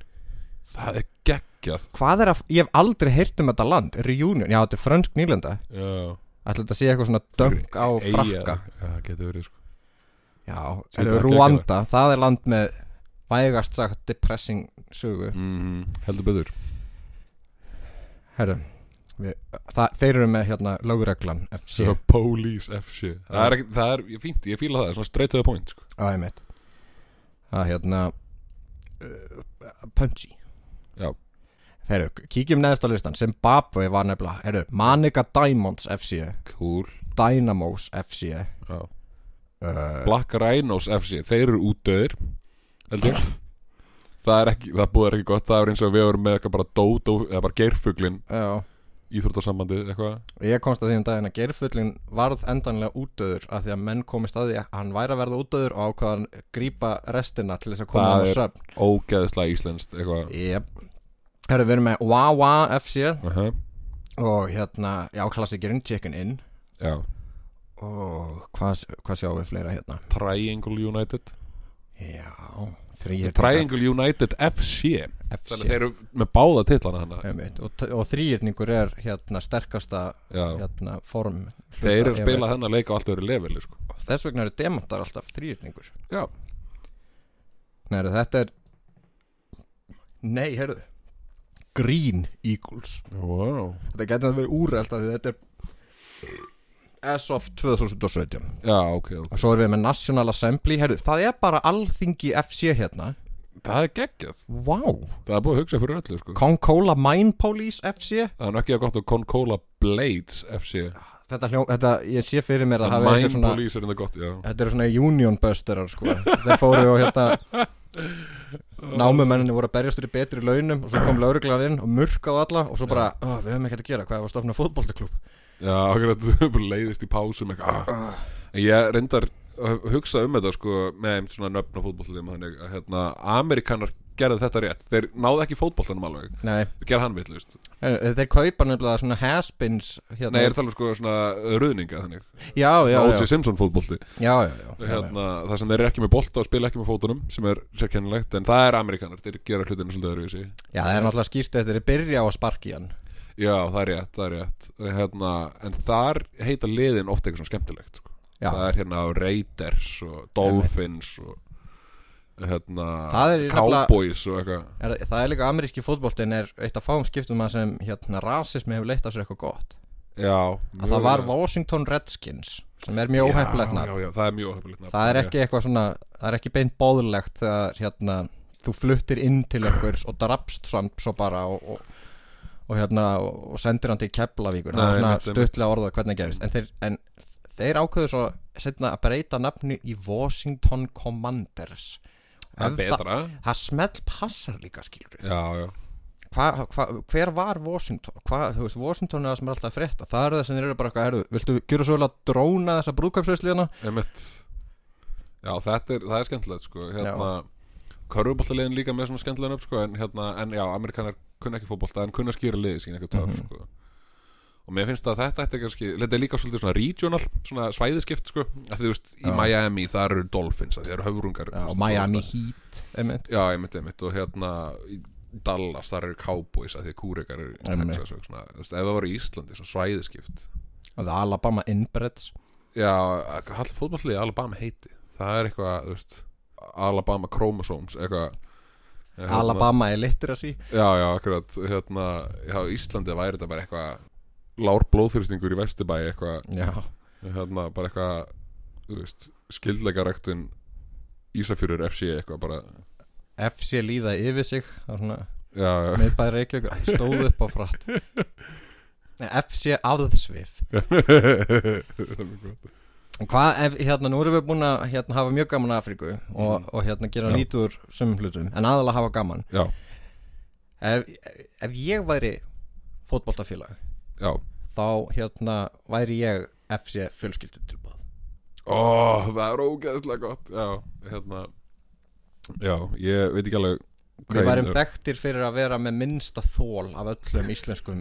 Speaker 1: Það er geggjað
Speaker 2: hvað er að, ég hef aldrei heyrt um þetta land reunion, já þetta er frönsk nýlenda
Speaker 1: Já,
Speaker 2: ætla þetta að sé eitthvað svona döng á frakka
Speaker 1: Já, það getur verið sko
Speaker 2: já,
Speaker 1: Svo
Speaker 2: eða
Speaker 1: þetta
Speaker 2: Rwanda, það er land með vægast sagt depressing sögu
Speaker 1: mm,
Speaker 2: Mhm.
Speaker 1: Heldur betur
Speaker 2: herru, við, það, þeir eru með hérna lögreglan FC,
Speaker 1: yeah. Police FC Það er, ekki- það er ég fínt, ég fíla það, svona straight to the point sko.
Speaker 2: á einmitt það er hérna uh, punchy
Speaker 1: Já.
Speaker 2: herru, kíkjum neðst á listan Zimbabwe var nefnilega, herru, Manica Diamonds FC
Speaker 1: Cool
Speaker 2: Dynamos FC uh,
Speaker 1: já. Black Rhinos FC Þeir eru útdöðir held ég. Það er ekki, það búið er ekki gott Það er eins og við vorum með eitthvað bara dót eða bara geirfuglin
Speaker 2: Já,
Speaker 1: íþróttasambandi eitthvað
Speaker 2: ég komst að því um daginn að Geirfuglin varð endanlega útöður af því að menn komist að því að hann væri að verða útöður og ákvaðan grípa restina til þess að koma
Speaker 1: Það
Speaker 2: hann á
Speaker 1: er-
Speaker 2: söfn
Speaker 1: ógeðslega íslenskt eitthvað
Speaker 2: Jep Herru, við erum með Wawa FC
Speaker 1: uh -huh.
Speaker 2: og hérna, já, klassikirinn Chicken Inn
Speaker 1: Já,
Speaker 2: og hvað, hvað sjáum við fleira hérna?
Speaker 1: Triangle United
Speaker 2: Já, þrýir
Speaker 1: Triangle United FC Þannig að
Speaker 2: FC
Speaker 1: þeir eru með báða titlana hana
Speaker 2: einmitt, og, og þrýirningur er hérna sterkasta
Speaker 1: Já,
Speaker 2: hérna, form
Speaker 1: þeir eru
Speaker 2: hluta-
Speaker 1: spilað þennan leik á allt öðru leveli sko.
Speaker 2: Þess vegna eru demantar alltaf þrýirningur
Speaker 1: Já,
Speaker 2: Nei, heyrðu, þetta er Nei, heyrðu Green Eagles
Speaker 1: wow.
Speaker 2: Þetta getur að vera úrælt af því þetta er S-Off 2017
Speaker 1: Já ok, ok
Speaker 2: og svo erum við með National Assembly heyrðu, það er bara alþingi FC hérna
Speaker 1: Það er geggjað,
Speaker 2: Vá wow.
Speaker 1: það er búið að hugsa fyrir öllu sko.
Speaker 2: Concola Mine Police FC
Speaker 1: Það er nokkið gott að Concola Blades FC
Speaker 2: Þetta, hljó, þetta ég sé fyrir mér að
Speaker 1: Það
Speaker 2: það hafi
Speaker 1: Mine
Speaker 2: eitthvað svona
Speaker 1: Police er þetta gott, já
Speaker 2: Þetta eru svona union busterar sko Þeir fóru og hérna Námumenninni voru að berjast fyrir betri launum Og svo kom lauruglan inn og murkaði alla Og svo bara, "Ó, við höfum ekkert að gera, hvað er að stofna fótboltaklub
Speaker 1: Já, okkur að þú bara leiðist í pásum eitthvað ah. En Ég reyndar að hugsa um þetta sko með einmitt svona nöfn á fótbollum þannig að hérna, Amerikanar gerðu þetta rétt Þeir náðu ekki fótbollanum alveg
Speaker 2: Nei,
Speaker 1: Þeir gerðu hann villust
Speaker 2: eh, þeir kaupa nefnilega svona has-beens hérna.
Speaker 1: Nei, ég er það alveg sko svona ruðninga þannig
Speaker 2: Já, já, já,
Speaker 1: O.J. Simpson fótbolti
Speaker 2: já, já, já, já, já.
Speaker 1: hérna, Það sem þeir eru ekki með bolta og spila ekki með fótunum sem er sérkennilegt, en það er Amerikanar Þeir gera hlutinu svolítið öðruvísi
Speaker 2: Já, það er náttúrulega skýrt að þeir eru byrja á að sparki hann
Speaker 1: Já, það er rétt, það er rétt hérna, En þar heita liðin ofta eitthvað svona skemmtilegt sko.
Speaker 2: Já,
Speaker 1: Það er hérna Raiders og Dolphins og hérna
Speaker 2: Það er í nefnilega-
Speaker 1: Cowboys og eitthvað
Speaker 2: er, það er líka ameríski fótboltin er eitt af fáum skiptum að sem hérna rasismi hefur leitt á sér eitthvað gott
Speaker 1: Já,
Speaker 2: Að það var Washington Redskins sem er mjög óhefnilegt nafn
Speaker 1: Já, já, það er mjög óhefnilegt nafn
Speaker 2: það er ekki eitthvað svona það er ekki beint bóðlegt þegar hérna, þú fluttir inn til einhvers og drapst samt svo bara og, og, og, hérna, og og sendir hann til Keflavíkur það
Speaker 1: Nei,
Speaker 2: er svona
Speaker 1: einmitt, einmitt.
Speaker 2: stuttlega orðað hvernig gefist en þeir, en þeir ákveðu svo setna að breyta nafni í Washington Commanders
Speaker 1: Það er
Speaker 2: Ef það,
Speaker 1: betra
Speaker 2: það smelt passar líka skilur
Speaker 1: Já, já,
Speaker 2: hva, hva, hver var Washington hva, þú veist, Washington er það sem er alltaf frétta það eru það sem þeir eru bara eitthvað herðu, viltu gjöra svo vel að dróna þessa hérna?" brúðkapsauðsliðana
Speaker 1: emitt Já, þetta er, það er skemmtilegt sko Hérna, körfuboltaliðin líka með svona skemmtilegan upp sko En hérna, en já, amerikanar kunna ekki fótbolta En kunna skýra liði sín eitthvað
Speaker 2: Mhm.
Speaker 1: töf sko Og mér finnst að þetta ætti kannski Þetta er líka svolítið svona regional, svona svæðiskipt sko Af Því þú veist, í
Speaker 2: Já.
Speaker 1: Miami þar eru Dolphins Það eru höfrungar þú
Speaker 2: Já,
Speaker 1: veist,
Speaker 2: Miami
Speaker 1: og-
Speaker 2: Heat einmitt.
Speaker 1: Já, einmitt, einmitt og hérna í Dallas, þar eru Cowboys að því að kúrekar eru í
Speaker 2: Einmitt.
Speaker 1: Texas og svona, þú veist, ef það var í Íslandi, svona svæðiskipt
Speaker 2: Og það er Alabama Inbreds
Speaker 1: Já, allir fótballið í Alabama heiti það er eitthvað, þú veist Alabama Chromosomes, eitthvað eh, hérna,
Speaker 2: Alabama Illiteracy
Speaker 1: Já, já, akkurat, hérna já, í Íslandi væri þetta bara eitthvað lár blóðþyrstingur í Vesturbæ eitthvað,
Speaker 2: Já,
Speaker 1: hérna, bara eitthvað þú veist, skildleikaræktun Ísafjörur FC eitthvað bara,
Speaker 2: FC líða yfir sig það er svona
Speaker 1: já, já
Speaker 2: miðbæri Reykjavík Æ, stóð upp á fratt Nei, FC aðsvif
Speaker 1: Það er mjög gott.
Speaker 2: En Hvað ef, hérna, nú erum við búin að hérna, hafa mjög gaman að Afríku og, og hérna gera
Speaker 1: Já.
Speaker 2: lítur sumum hlutum en aðalega hafa gaman
Speaker 1: Já,
Speaker 2: Ef, ef ég væri fótboltafélag
Speaker 1: já
Speaker 2: þá hérna væri ég FC fjölskyldutilbúð
Speaker 1: Ó, það er ógeðslega gott Já, hérna Já, ég veit ekki alveg
Speaker 2: Við værum
Speaker 1: ég-
Speaker 2: þekktir fyrir að vera með minnsta þól af öllum íslenskum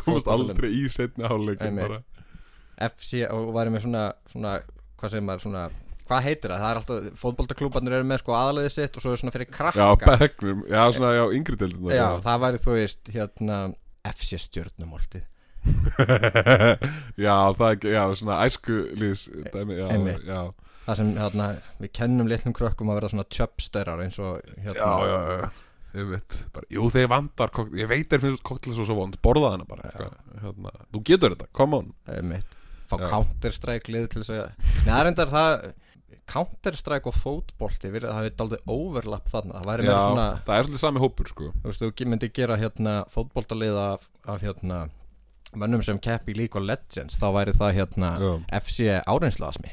Speaker 1: komast
Speaker 2: fótboltanum.
Speaker 1: aldrei í setni háluleikin
Speaker 2: Einmitt.
Speaker 1: bara
Speaker 2: FC og væri með svona, svona hvað segir maður svona hvað heitir það, það er alltaf fótboltaklúbarnir eru með sko aðalegið sitt og svo er svona fyrir krakka
Speaker 1: Já, begnum, já, svona, já, yngri deildin
Speaker 2: Já, það væri þú veist hérna FC stjórnumoltið
Speaker 1: já, það ekki, já, svona æskulís dæmi, já,
Speaker 2: E- Einmitt.
Speaker 1: já,
Speaker 2: það sem hérna, við kennum litlum krökkum að vera svona tjöpstörar eins og hérna,
Speaker 1: já, já, já Ég veit, bara, jú þeir vandar kokt, ég veit þeir finnst koktel svo svo vond, borða hana bara eitthvað, hérna, þú getur þetta, come on
Speaker 2: einmitt, eh, fá
Speaker 1: Já.
Speaker 2: Counter-Strike lið til þess að, neða reyndar það Counter-Strike og fótbolti við- það er daldið overlap þarna það væri
Speaker 1: Já,
Speaker 2: með svona
Speaker 1: það er svolítið sami hópur, sko
Speaker 2: þú veist, þú myndi gera hérna fótboltalið af, af hérna mönnum sem keppi í League of Legends þá væri það hérna
Speaker 1: Já.
Speaker 2: FC áreinslasmi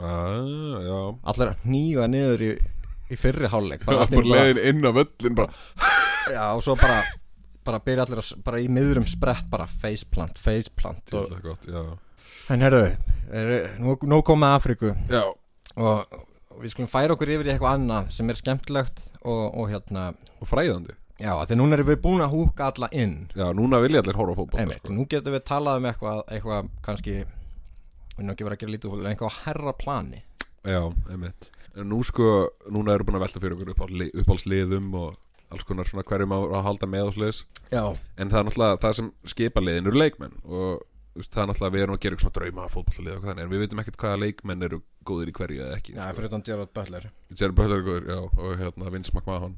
Speaker 1: Ah, já
Speaker 2: allir að hníga niður í, í fyrri hálfleik
Speaker 1: Bara,
Speaker 2: allt í
Speaker 1: bara
Speaker 2: einu bara-
Speaker 1: leiðin inn á völlin bara
Speaker 2: já, og svo bara bara byrja allir að, s- bara í miðrum sprett bara faceplant, faceplant og,
Speaker 1: Djöfull er gott, já
Speaker 2: en herru, er, nú, nú komið Afriku
Speaker 1: Já,
Speaker 2: og, og við skulum færa okkur yfir í eitthvað annað sem er skemmtilegt og, og hérna
Speaker 1: og fræðandi
Speaker 2: já, af því núna erum við búin að húka alla inn
Speaker 1: Já, núna vilja allir horfa á fótbolta sko.
Speaker 2: Einmitt, nú getum við talað um eitthvað, eitthvað kannski, við erum ekki verið að gera lítið úr fótbolta, en eitthvað á herra plani
Speaker 1: Já, einmitt En nú sko, núna eru búin að velta fyrir okkur upp á li- uppáhaldsliðum og alls konar svona hverjum á að halda með og sliðis
Speaker 2: Já,
Speaker 1: En það er náttúrulega það sem skipa liðin eru leikmenn og þú veist, það er náttúrulega við erum að gera eitthvað svona drauma fótboltalið og hvað þannig en við veitum ekkert hvaða leikmenn eru góðir í hverju eða ekki
Speaker 2: já
Speaker 1: sko.
Speaker 2: fyrir utan Gerard Butler
Speaker 1: Jerry Butler er góður, já, og hérna Vince McMahon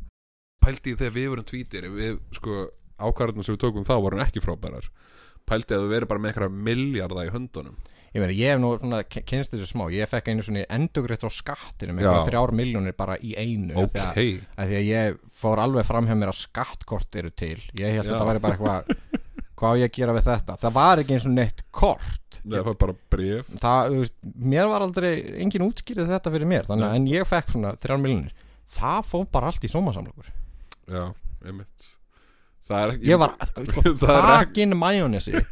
Speaker 1: Pældi í þegar við vorum tvítir við, sko, ákvarðarnar sem við tókum þá vorum ekki frábærar Pældi að við verðum bara með einhverja milljarða í höndunum
Speaker 2: Ég meina, ég hef nú svona k- kynst þessu smá, ég fekk einu svona endugrétt á skattinu með
Speaker 1: Já.
Speaker 2: eitthvað þrjár miljónir bara í einu af því
Speaker 1: Ok,
Speaker 2: að, að því að ég fór alveg fram hjá mér að skattkort eru til Ég
Speaker 1: Já.
Speaker 2: held að þetta væri bara eitthvað, hvað á ég að gera við þetta Það var ekki eins og neitt kort
Speaker 1: það var bara bref
Speaker 2: það, þú veist, mér var aldrei engin útskýrið þetta fyrir mér þannig,
Speaker 1: Nei.
Speaker 2: að- en ég fekk svona þrjár miljonir það fóð bara allt í sómasamlokur
Speaker 1: Já, einmitt Það er ekki
Speaker 2: ég var sko,
Speaker 1: Það er rek-
Speaker 2: þakin majónesi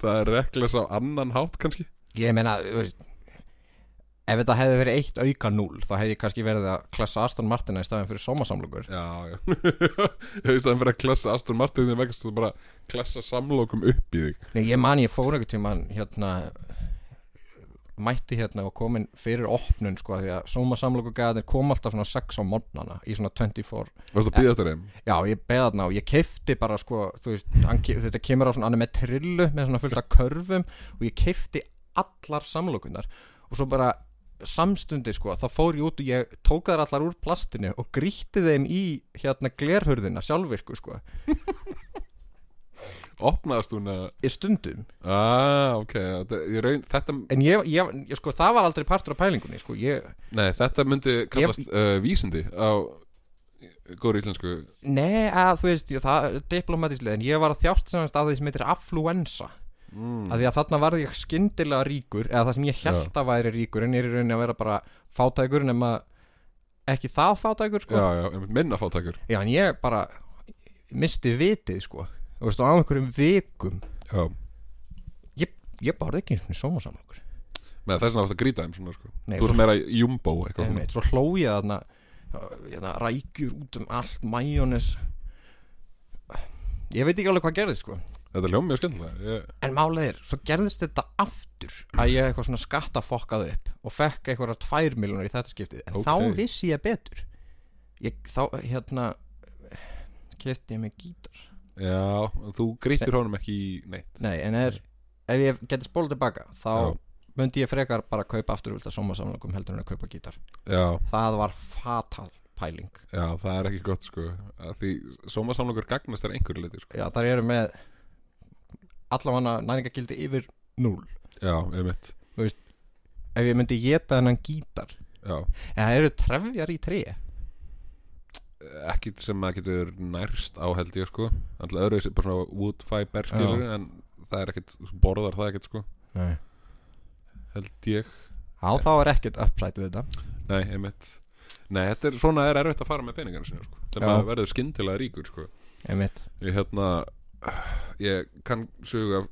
Speaker 1: Það er rekles á annan hátt kannski
Speaker 2: ég meina þú veist, ef þetta hefði verið eitt auka núl þá hefði ég kannski verið að klessa Aston Martina í staðin fyrir sómasamlokur
Speaker 1: Já, já Ég veist að það fyrir að klessa Aston Martin þinn vegast þú bara klessa samlokum upp í þig
Speaker 2: Nei, ég man ég fór einhvern tímann hérna mætti hérna og komin fyrir opnun sko því að sómasamlokur gæðin kom alltaf svona 6 á morgnana í svona 24
Speaker 1: Varst að býða eftir þeim?
Speaker 2: Já, ég beða þarna og ég kefti bara sko, þú veist, hann, ke- þetta kemur á svona, hann er með trillu með svona fullt af körfum og ég kefti allar samlokunar og svo bara samstundi sko, þá fór ég út og ég tók þær allar úr plastinu og grýtti þeim í hérna glerhurðina sjálfvirku sko,
Speaker 1: Opnaðast hún að
Speaker 2: í stundum
Speaker 1: Ah, ok Þetta, ég raun, þetta
Speaker 2: en ég, ég, ég sko, það var aldrei partur af pælingunni sko, ég,
Speaker 1: Nei, þetta myndi kallast uh, vísindi á góður íslensku
Speaker 2: nei, að, þú veist, ég, það er diplomatíslega, en ég var að þjátt sem að því sem heitir affluensa
Speaker 1: mm.
Speaker 2: að því að þarna varði ég skyndilega ríkur eða það sem ég held að væri ríkur en ég er í rauninni að vera bara fátækur nema ekki það fátækur sko
Speaker 1: Já, já, einmitt minna fátækur
Speaker 2: Já, en ég bara misti vitið sko og veistu á einhverjum vikum
Speaker 1: Já
Speaker 2: ég, ég borði ekki einhvern sóma saman okkur
Speaker 1: Með þess að varst að grýta þeim svona sko
Speaker 2: Nei,
Speaker 1: Þú
Speaker 2: svo-
Speaker 1: ert meira jumbo eitthvað svona
Speaker 2: Einmitt, svo hló ég þarna hérna, rækjur út um allt majónis ég veit ekki alveg hvað gerðist sko
Speaker 1: Þetta hljóðum mjög skemmtilega ég,
Speaker 2: En málið er, svo gerðist þetta aftur að ég eitthvað svona skattafokkað upp og fekk eitthvað tvær miljonar í þetta skiptið en
Speaker 1: Ok.
Speaker 2: þá vissi ég betur ég, þá, hérna kefti ég mig gítar
Speaker 1: Já, en þú grýtur honum ekki í neitt
Speaker 2: Nei, en er, ef ég geti spólað tilbaka þá myndi ég frekar bara kaupa afturvölda sómasamlökum heldur en að kaupa gítar
Speaker 1: Já,
Speaker 2: Það var fatal pæling
Speaker 1: já, það er ekki gott sko að Því sómasamlokur gagnast er einhverju liti sko
Speaker 2: Já, þar eru með allavega næringagildi yfir núl
Speaker 1: Já, einmitt
Speaker 2: Ef ég myndi geta þennan gítar
Speaker 1: Já,
Speaker 2: en það eru trefjar í tré
Speaker 1: ekkit sem það getur nærst á held ég sko Þannig að öðru bara svona wood fiber skilur En það er ekkit, þú borðar það ekkit sko
Speaker 2: Nei
Speaker 1: Held ég
Speaker 2: Já, þá er ekkert uppsætt við þetta
Speaker 1: Nei, einmitt Nei, þetta er, svona er erfitt að fara með peningarna sinni sko.
Speaker 2: Já.
Speaker 1: þegar maður verður skyndilega ríkur sko.
Speaker 2: Einmitt
Speaker 1: ég hérna ég kann sögu af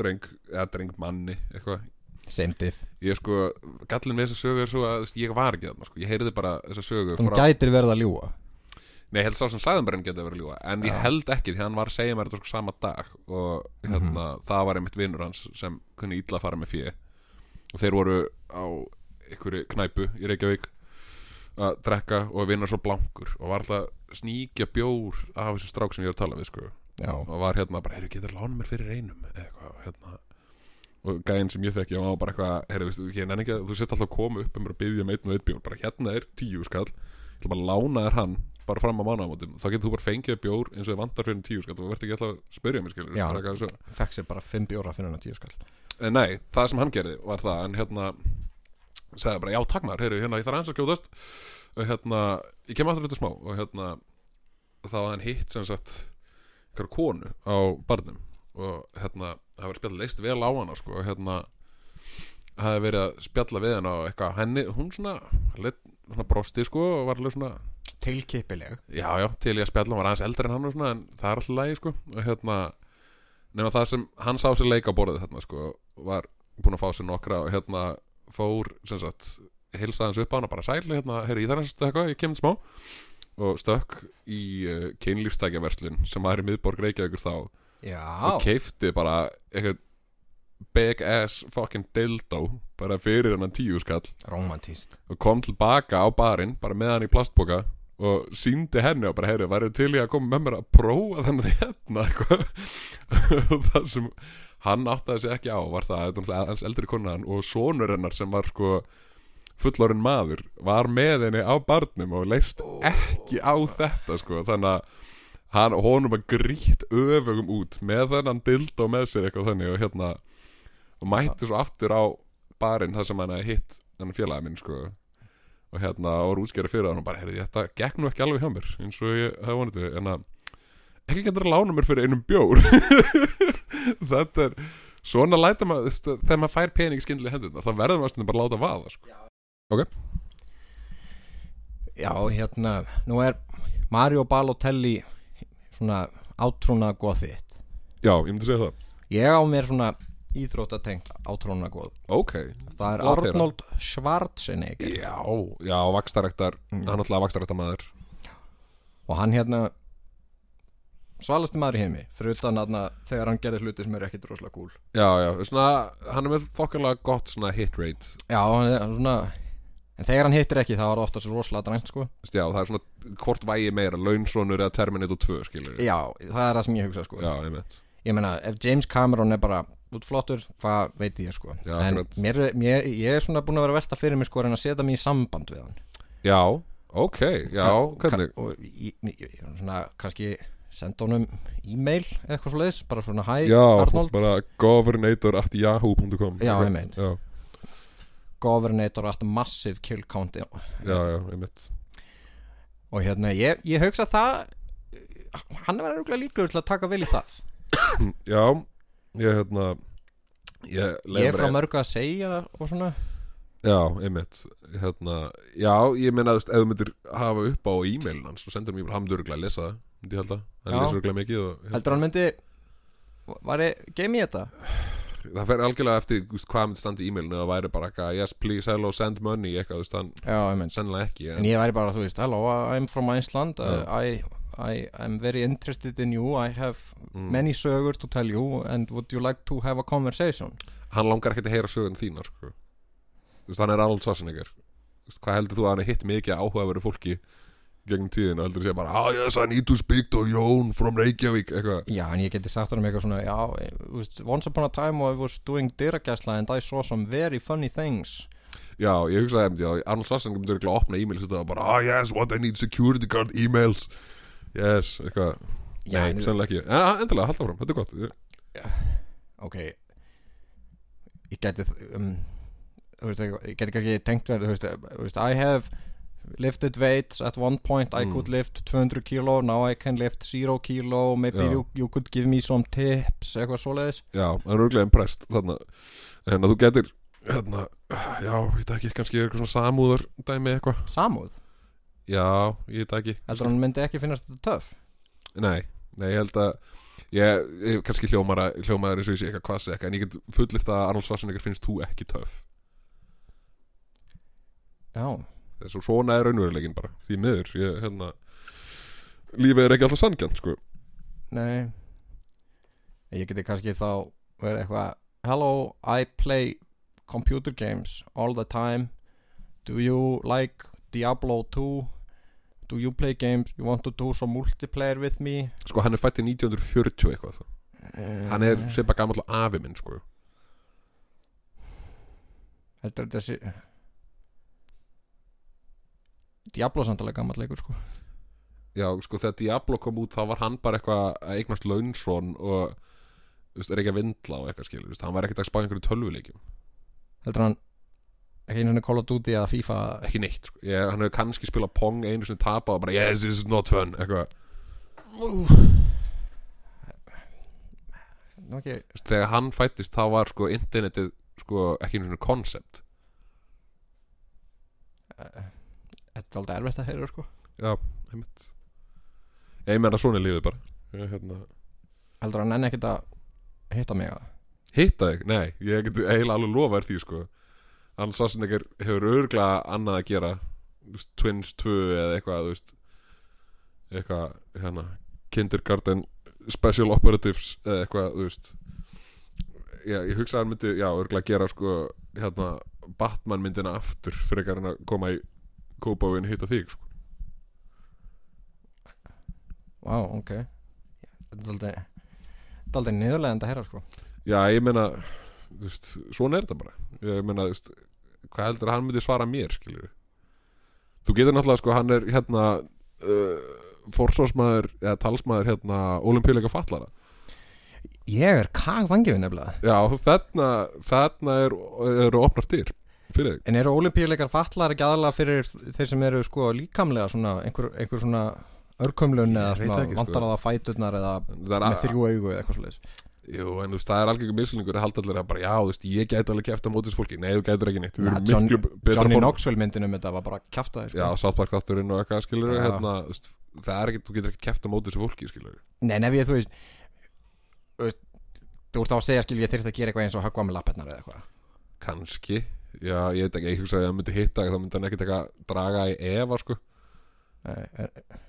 Speaker 1: dreng, eða dreng manni eitthvað
Speaker 2: Same diff
Speaker 1: ég sko, gallin við þessa sögu er svo að þú veist, ég var ekki þarna, sko, ég heyrði bara þessa sögu
Speaker 2: Hún gætir verið að ljúa
Speaker 1: nei, ég held sá sem sæðanbrenn geti verið að ljúga en
Speaker 2: Já.
Speaker 1: ég held ekki því hann var að segja mér þetta sko sama dag og hérna, það var einmitt vinnur hans sem kunni illa að fara með fjö og þeir voru á einhverju knæpu í Reykjavík að drekka og vinna svo blankur og var alltaf að sníkja bjór af þessum strák sem ég er að tala við sko
Speaker 2: Já
Speaker 1: og var hérna bara, heyrðu, getur lána mér fyrir einum eða eitthvað, og hérna og gæinn sem ég þekki, hann var bara eitthvað heyrðu, veistu, ég nenni ekki að þú sett alltaf að koma upp um að byggja með einn og einn bjór, bara hérna er tíu skall ég ætla bara að lána þér hann bara fram á mánaðamótum, þá getur þú bara fengið bjór eins og þið vantar fyrir en tíu skall, þú verður ekki alltaf að spyrja mér skilur,
Speaker 2: Já.
Speaker 1: bara eitthvað svo
Speaker 2: Fekk sér bara 5 bjóra fyrir hennar 10 skall
Speaker 1: Eh, Nei, það sem hann gerði var það en hérna sagði bara já takk maður, heyrðu, hérna ég þarf aðeins að skjótast og hérna, ég kem aftur þetta smá og hérna, þá var hann hitt sem sagt einhver konu á barnum og hérna, það var spjall leist vel á hana sko, og hérna það hefði verið að spjalla við hana og eitthvað henni, hún svona, leit, svona brosti sko og var alveg svona,
Speaker 2: tilkipileg
Speaker 1: já já, til í að spjalla hún var aðeins eldri en hann og svona, en það er alltaf lægi sko og hérna, nema það sem hann sá sér leika á borðið þarna sko var búin að fá sér nokkra og hérna fór, sem sagt, heilsa hans upp á hana bara sæl, hérna, heyri í þar hans eitthvað, ég kemd smá og stökk í uh, kynlífstækjaverslun sem var í miðborg Reykjavíkur þá
Speaker 2: já,
Speaker 1: og keifti bara eitthvað big ass fucking dildo bara fyrir hennan tíu skall
Speaker 2: romantíst
Speaker 1: og kom tilbaka á barinn bara með hann í plastboka og síndi henni og bara heyrðu, værið til í að koma með mér að prófa þennan hérna eitthvað og það sem hann áttaði sig ekki á var það að þetta er náttúrulega hans eldri kona hann og sonur hennar sem var sko fullorinn maður var með henni á barnum og leist ekki á þetta sko þannig að hann, honum var grýtt öfugum út með þennan dildó með sér eitthvað þannig og hérna og mætti svo aftur á barinn þar sem hann hafði hitt þennan félagi minn sko og hérna og var útskjæri fyrir hann og bara heyrði þetta gekk nú ekki alveg hjá mér eins og ég hafði vonið til en að ekki getur að lána mér fyrir einum bjór þetta er svona læta maður þú veist, þegar maður fær pening í skyndilega hendurna þá verður maður stundum bara að láta vaða sko.
Speaker 2: já, hérna, nú er Mario Balotelli svona átrúna góð þitt
Speaker 1: já, ég myndi segja það
Speaker 2: ég á mér svona íþróttatengt átrúna góð
Speaker 1: ok,
Speaker 2: það er
Speaker 1: Lát heyra.
Speaker 2: Arnold Schwarzenegger
Speaker 1: já, Mm. já, vakstaræktar hann er alltaf vakstaræktar maður
Speaker 2: og hann hérna svalasti maður í heimi fyrir utan aðna þegar hann gerði hluti sem eru ekkit rosalega cool
Speaker 1: já, já, svona, hann er með þokkarlega gott svona hit rate
Speaker 2: já, hann er svona en þegar hann hittir ekki þá er það oftast rosalega drænt sko
Speaker 1: Þú veist, já, það er svona hvort vægi meira launsonur eða Terminator 2 skilur
Speaker 2: já, það er það sem ég hugsa sko
Speaker 1: já, einmitt
Speaker 2: ég meina, ef James Cameron er bara út flottur, hvað veit ég sko
Speaker 1: Já,
Speaker 2: en
Speaker 1: akkurat.
Speaker 2: mér, er- mér, ég er svona búin að vera að velta fyrir mér sko en að setja mig í samband við hann
Speaker 1: já, ok, já, hvernig
Speaker 2: Ka- og ég, ég, ég, svona, kannski senda honum e-mail eða eitthvað svo leiðis, bara svona hæ
Speaker 1: já,
Speaker 2: Arnold,
Speaker 1: bara governator at yahoo.com
Speaker 2: Já, einmitt.
Speaker 1: já,
Speaker 2: governator at massive kill count
Speaker 1: já, já, einmitt
Speaker 2: og hérna, ég, ég hugsa það hann var eruglega líklegur til að taka vel í það
Speaker 1: já, ég hérna ég,
Speaker 2: ég er frá
Speaker 1: mér
Speaker 2: mörgu að segja og svona
Speaker 1: já, einmitt, hérna já, ég meina, þú veist, ef þú myndir hafa upp á e-mailin hans og sendur mér, hann myndir örgulega að lesa það myndi ég halda, hann
Speaker 2: Já.
Speaker 1: lesa örgulega mikið og, hérna,
Speaker 2: heldur hann myndi var ég, geim ég þetta?
Speaker 1: það fer algjörlega eftir þú veist, hvað myndi standa í e-mailinu það væri bara eitthvað, yes, please, hello, send money eitthvað, þú veist, hann
Speaker 2: já, ég menn
Speaker 1: sennilega ekki en,
Speaker 2: En ég væri bara, þú veist, hello, I'm from Iceland uh, I, I, I'm very interested in you I have
Speaker 1: Mm.
Speaker 2: many sögur to tell you and would you like to have a conversation
Speaker 1: hann langar ekkert að heyra sögun þína sko. Þú veist, hann er Arnold Schwarzenegger Þú veist, hvað heldur þú að hann er hitt mikið áhugaveru fólki gegnum tíðin og heldur þú sé bara ah yes I need to speak to Jón from Reykjavík eitthvað
Speaker 2: Já, en ég geti sagt hann um eitthvað svona Já, eh, þú veist, once upon a time I was doing dyragæsla and I saw some very funny things
Speaker 1: já ég hugsaði einmitt, já, Arnold Schwarzenegger myndur ekki að opna e-mail þetta og bara ah yes what I need security guard e-mails yes eitthvað
Speaker 2: Já,
Speaker 1: nei
Speaker 2: en-
Speaker 1: sennilega ekki en ah, endilega halda fram þetta er gott Ég-
Speaker 2: Ok Ég geti um, þú veist, eitthvað- Ég geti kannski tengt verið, þú veist, eh, þú veist I have lifted weights at one point I could lift 200 kilo now I can lift 0 kilo maybe
Speaker 1: Já.
Speaker 2: you, you could give me some tips eitthvað svoleiðis
Speaker 1: já hann er örglega impressed þarna en að þú getur hérna já ég veit ekki kannski eitthvað svona samúðar dæmi eitthvað
Speaker 2: Samúð,
Speaker 1: já ég veit ekki
Speaker 2: heldur hann myndi ekki finnast þetta töff
Speaker 1: Nei, nei, ég held að ég, ég kannski hljómar að- hljómar eins og ég sé eitthvað kvassi eitthvað en ég get fullirt að Arnold Schwarzenegger finnst þú ekki töff
Speaker 2: Já,
Speaker 1: þess að svona er raunverulegin bara því miður, ég, hérna lífið er ekki alltaf sangjant, sko
Speaker 2: nei Ég geti kannski þá verið eitthvað Hello, I play computer games all the time Do you like Diablo 2? Do you play games? You want to do some multiplayer with me?
Speaker 1: sko, hann er fætt í 1940 eitthvað þá. hann er
Speaker 2: Eh,
Speaker 1: svipa gamall og afi minn, sko
Speaker 2: Heldur þetta sé Diablo er samt alveg gammal leikur sko
Speaker 1: já, sko, þegar Diablo kom út þá var hann bara eitthvað að eignast launsson og, þú veist, er ekki að vindla og eitthvað skilur, þú veist, hann var ekkert að spá í einhverju tölvuleikjum
Speaker 2: Heldur hann ekki einu svona Call of Duty eða FIFA
Speaker 1: ekki neitt, sko, ég, hann hefur kannski spilað pong einu sem tapa og bara, yes, this is not fun eitthvað,
Speaker 2: nú ekki
Speaker 1: Þú veist, þegar hann fættist þá var sko internetið sko ekki einu svona koncept
Speaker 2: Eh, Þetta er aldrei erfitt að heyra sko
Speaker 1: já, einmitt ég meina svona er lífið bara ég, hérna,
Speaker 2: Heldur hann enn ekkert að hitta mig að
Speaker 1: hitta þig, nei ég get eiginlega alveg lofa þér því sko hann svo sem ekki hefur örglega annað að gera þú veist, Twins 2 eða eitthvað þú veist, eitthvað hérna, Kindergarten Special Operatives eða eitthvað þú veist já, ég hugsa að hann myndi, já, örglega gera sko hérna, Batman myndina aftur frekar hann að koma í kópáin hitta þig sko
Speaker 2: Vá, ok Þetta er aldrei Þetta er aldrei niðurlegend að heyra sko
Speaker 1: Já, ég meina, þú veist, svona er þetta bara Ég meina, þú veist, hvað heldur að hann myndi svara mér, skilur Þú getur náttúrulega, sko, hann er hérna uh, Forsvarsmaður, eða talsmaður hérna, olimpíuleika fallara
Speaker 2: Ég er kagvangið nefnilega
Speaker 1: Já, þarna, þarna er, eru opnar dyr fyrir þig
Speaker 2: En eru olimpíuleikar fallar ekki aðalega fyrir þeir sem eru sko líkamlega svona einhver, einhver svona örkumlun
Speaker 1: Ég
Speaker 2: eða
Speaker 1: veit
Speaker 2: svona
Speaker 1: ekki, sko.
Speaker 2: vandar að fæturnar eða
Speaker 1: Það er
Speaker 2: með
Speaker 1: að,
Speaker 2: þrjú augu eða eitthvað svoleiðis
Speaker 1: jú, en þú veist, það er algjörgum mislningur að halda allir að bara, já, þú veist, ég gæti alveg kæft á mótis fólki Nei, þú gætir ekki neitt, þú
Speaker 2: Na,
Speaker 1: eru
Speaker 2: John-
Speaker 1: miklu betra
Speaker 2: Johnny
Speaker 1: form-
Speaker 2: Knoxville myndinum þetta var bara kjaftaði sko.
Speaker 1: Já, sáttparkátturinn og eitthvað, skilur
Speaker 2: Já.
Speaker 1: hérna, þú veist, Það er ekki, þú getur ekki kæft á mótis fólki, skilur
Speaker 2: Nei, en ef ég, þú veist þú veist, Þú ert þá að segja, skil, ég þyrfti að gera eitthvað eins og höggva með lappirnar eða eitthvað
Speaker 1: kannski já, ég veit ekki, ég hugsa að ef hann myndi hitta þá myndi hann ekkert eitthvað draga í efa sko.
Speaker 2: Nei, er- er-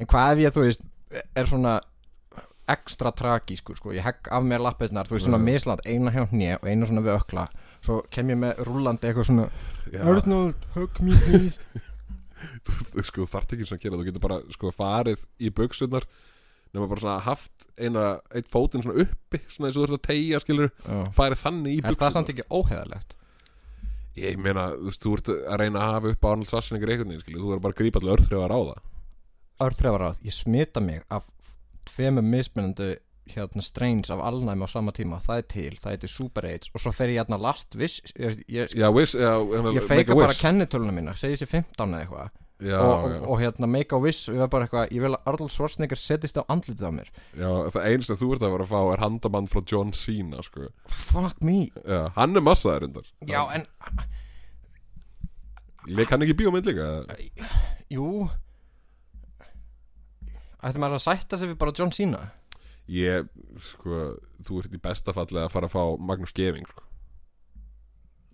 Speaker 2: En hvað ef ég, þú veist er svona ekstra tragískur, sko, ég hegg af mér lappirnar þú veist, svona
Speaker 1: Já.
Speaker 2: misland, eina hjá hné og eina svona við ökla svo kem ég með rúllandi eitthvað svona
Speaker 1: Já,
Speaker 2: Arnold, hug me please
Speaker 1: þú- sko, þú þarft ekki svona að gera, þú getur bara sko, farið í buksunar nema bara svona haft eina, eitt fótinn svona uppi svona eins og þú ert að tegja skilur
Speaker 2: Já.
Speaker 1: farið þannig í
Speaker 2: Er það samt
Speaker 1: buksunar
Speaker 2: ekki óheðalegt?
Speaker 1: ég meina, þú veist, þú ert að reyna að hafa upp á Arnold Schwarzenegger einhvern veginn skilur, þú er bara að grípa allir örþrið að ráða
Speaker 2: Örþrefaráð, ég smita mig af tveimur mismunandi hérna strains af alnæmi á sama tíma það er til, það heitir Super AIDS og svo fer ég hérna last viss ég, ég,
Speaker 1: já, wish, já, hérna,
Speaker 2: ég
Speaker 1: make a
Speaker 2: feika bara
Speaker 1: wish.
Speaker 2: kennitöluna mína segi sér 15 eða eitthvað
Speaker 1: já,
Speaker 2: og,
Speaker 1: já,
Speaker 2: og, og hérna make a wish og ég, var bara eitthvað, ég vil að Arnold Schwarzenegger setjist á andlitið á mér
Speaker 1: já, það eins sem þú ert að vera að fá er handamann frá John Cena sko.
Speaker 2: fuck me
Speaker 1: já, hann er massaður undar
Speaker 2: já en,
Speaker 1: Leik hann ekki í bíómynd líka?
Speaker 2: jú ætti maður að sætta sig við bara John Cena
Speaker 1: Ég, sko, þú ert í besta falli að fara að fá Magnús Geving sko.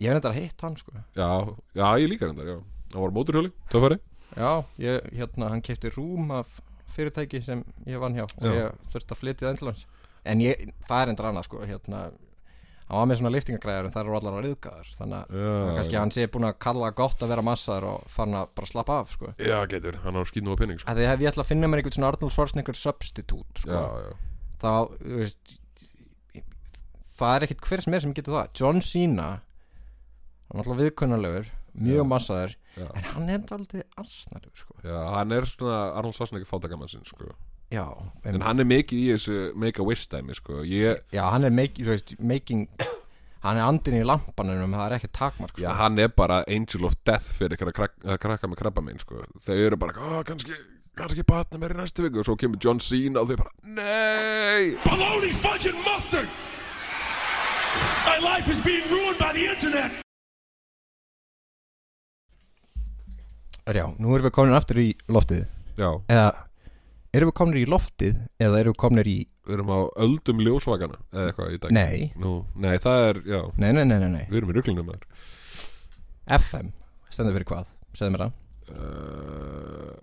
Speaker 2: ég er þetta að hitt hann sko
Speaker 1: Já, já, ég líka reyndar, já Hann var á móturhjóli, töfari
Speaker 2: Já, ég, hérna, hann kefti rúm af fyrirtæki sem ég vann hjá og
Speaker 1: Já.
Speaker 2: ég þurfti að flytja það endlans en ég, það er endur annað sko hérna, hann var með svona liftingagræðar en það eru allar að riðgaðar þannig að kannski hann sé búin að kalla það gott að vera massaðar og farin að bara slappa af sko
Speaker 1: Já, getur, hann var skýtnum á penning sko.
Speaker 2: að því hef ég ætla að finna mér einhvern svona Arnold Schwarzenegger substitute
Speaker 1: Já,
Speaker 2: sko
Speaker 1: já,
Speaker 2: þá, þú veist það er ekkit hver sem er sem getur það John Cena hann er alltaf viðkunnalegur, mjög
Speaker 1: Já.
Speaker 2: massaður
Speaker 1: Já.
Speaker 2: en hann er aldrei arsnalegur sko
Speaker 1: já, hann er svona Arnold Schwarzenegger fátakamann sinn sko.
Speaker 2: Já,
Speaker 1: En hann er mikið í þessu make-a-wish dæmi sko. Ég,
Speaker 2: Já, hann er make, þú veist, making Hann er andin í lampanum en það er ekki takmark
Speaker 1: já,
Speaker 2: sko.
Speaker 1: hann er bara angel of death fyrir ykkur að krak, að krakka með krabba minn sko. Þau eru bara, "Ah, kannski, kannski batna mér í næstu viku og svo kemur John Cena og þau bara, nei
Speaker 3: Baloney, fudge, and mustard! My life is being ruined by the internet!
Speaker 2: já, nú erum við komin aftur í loftið
Speaker 1: Já,
Speaker 2: Eða, erum við komin í loftið Eða erum við komin í,
Speaker 1: við erum á öldum ljósvakana eða eitthvað í dag
Speaker 2: nei
Speaker 1: Nú, nei, það er, já,
Speaker 2: Nei, nei, nei, nei, nei
Speaker 1: við erum í ruglunum þar
Speaker 2: FM, stendur fyrir hvað, segðu mér það
Speaker 1: uh,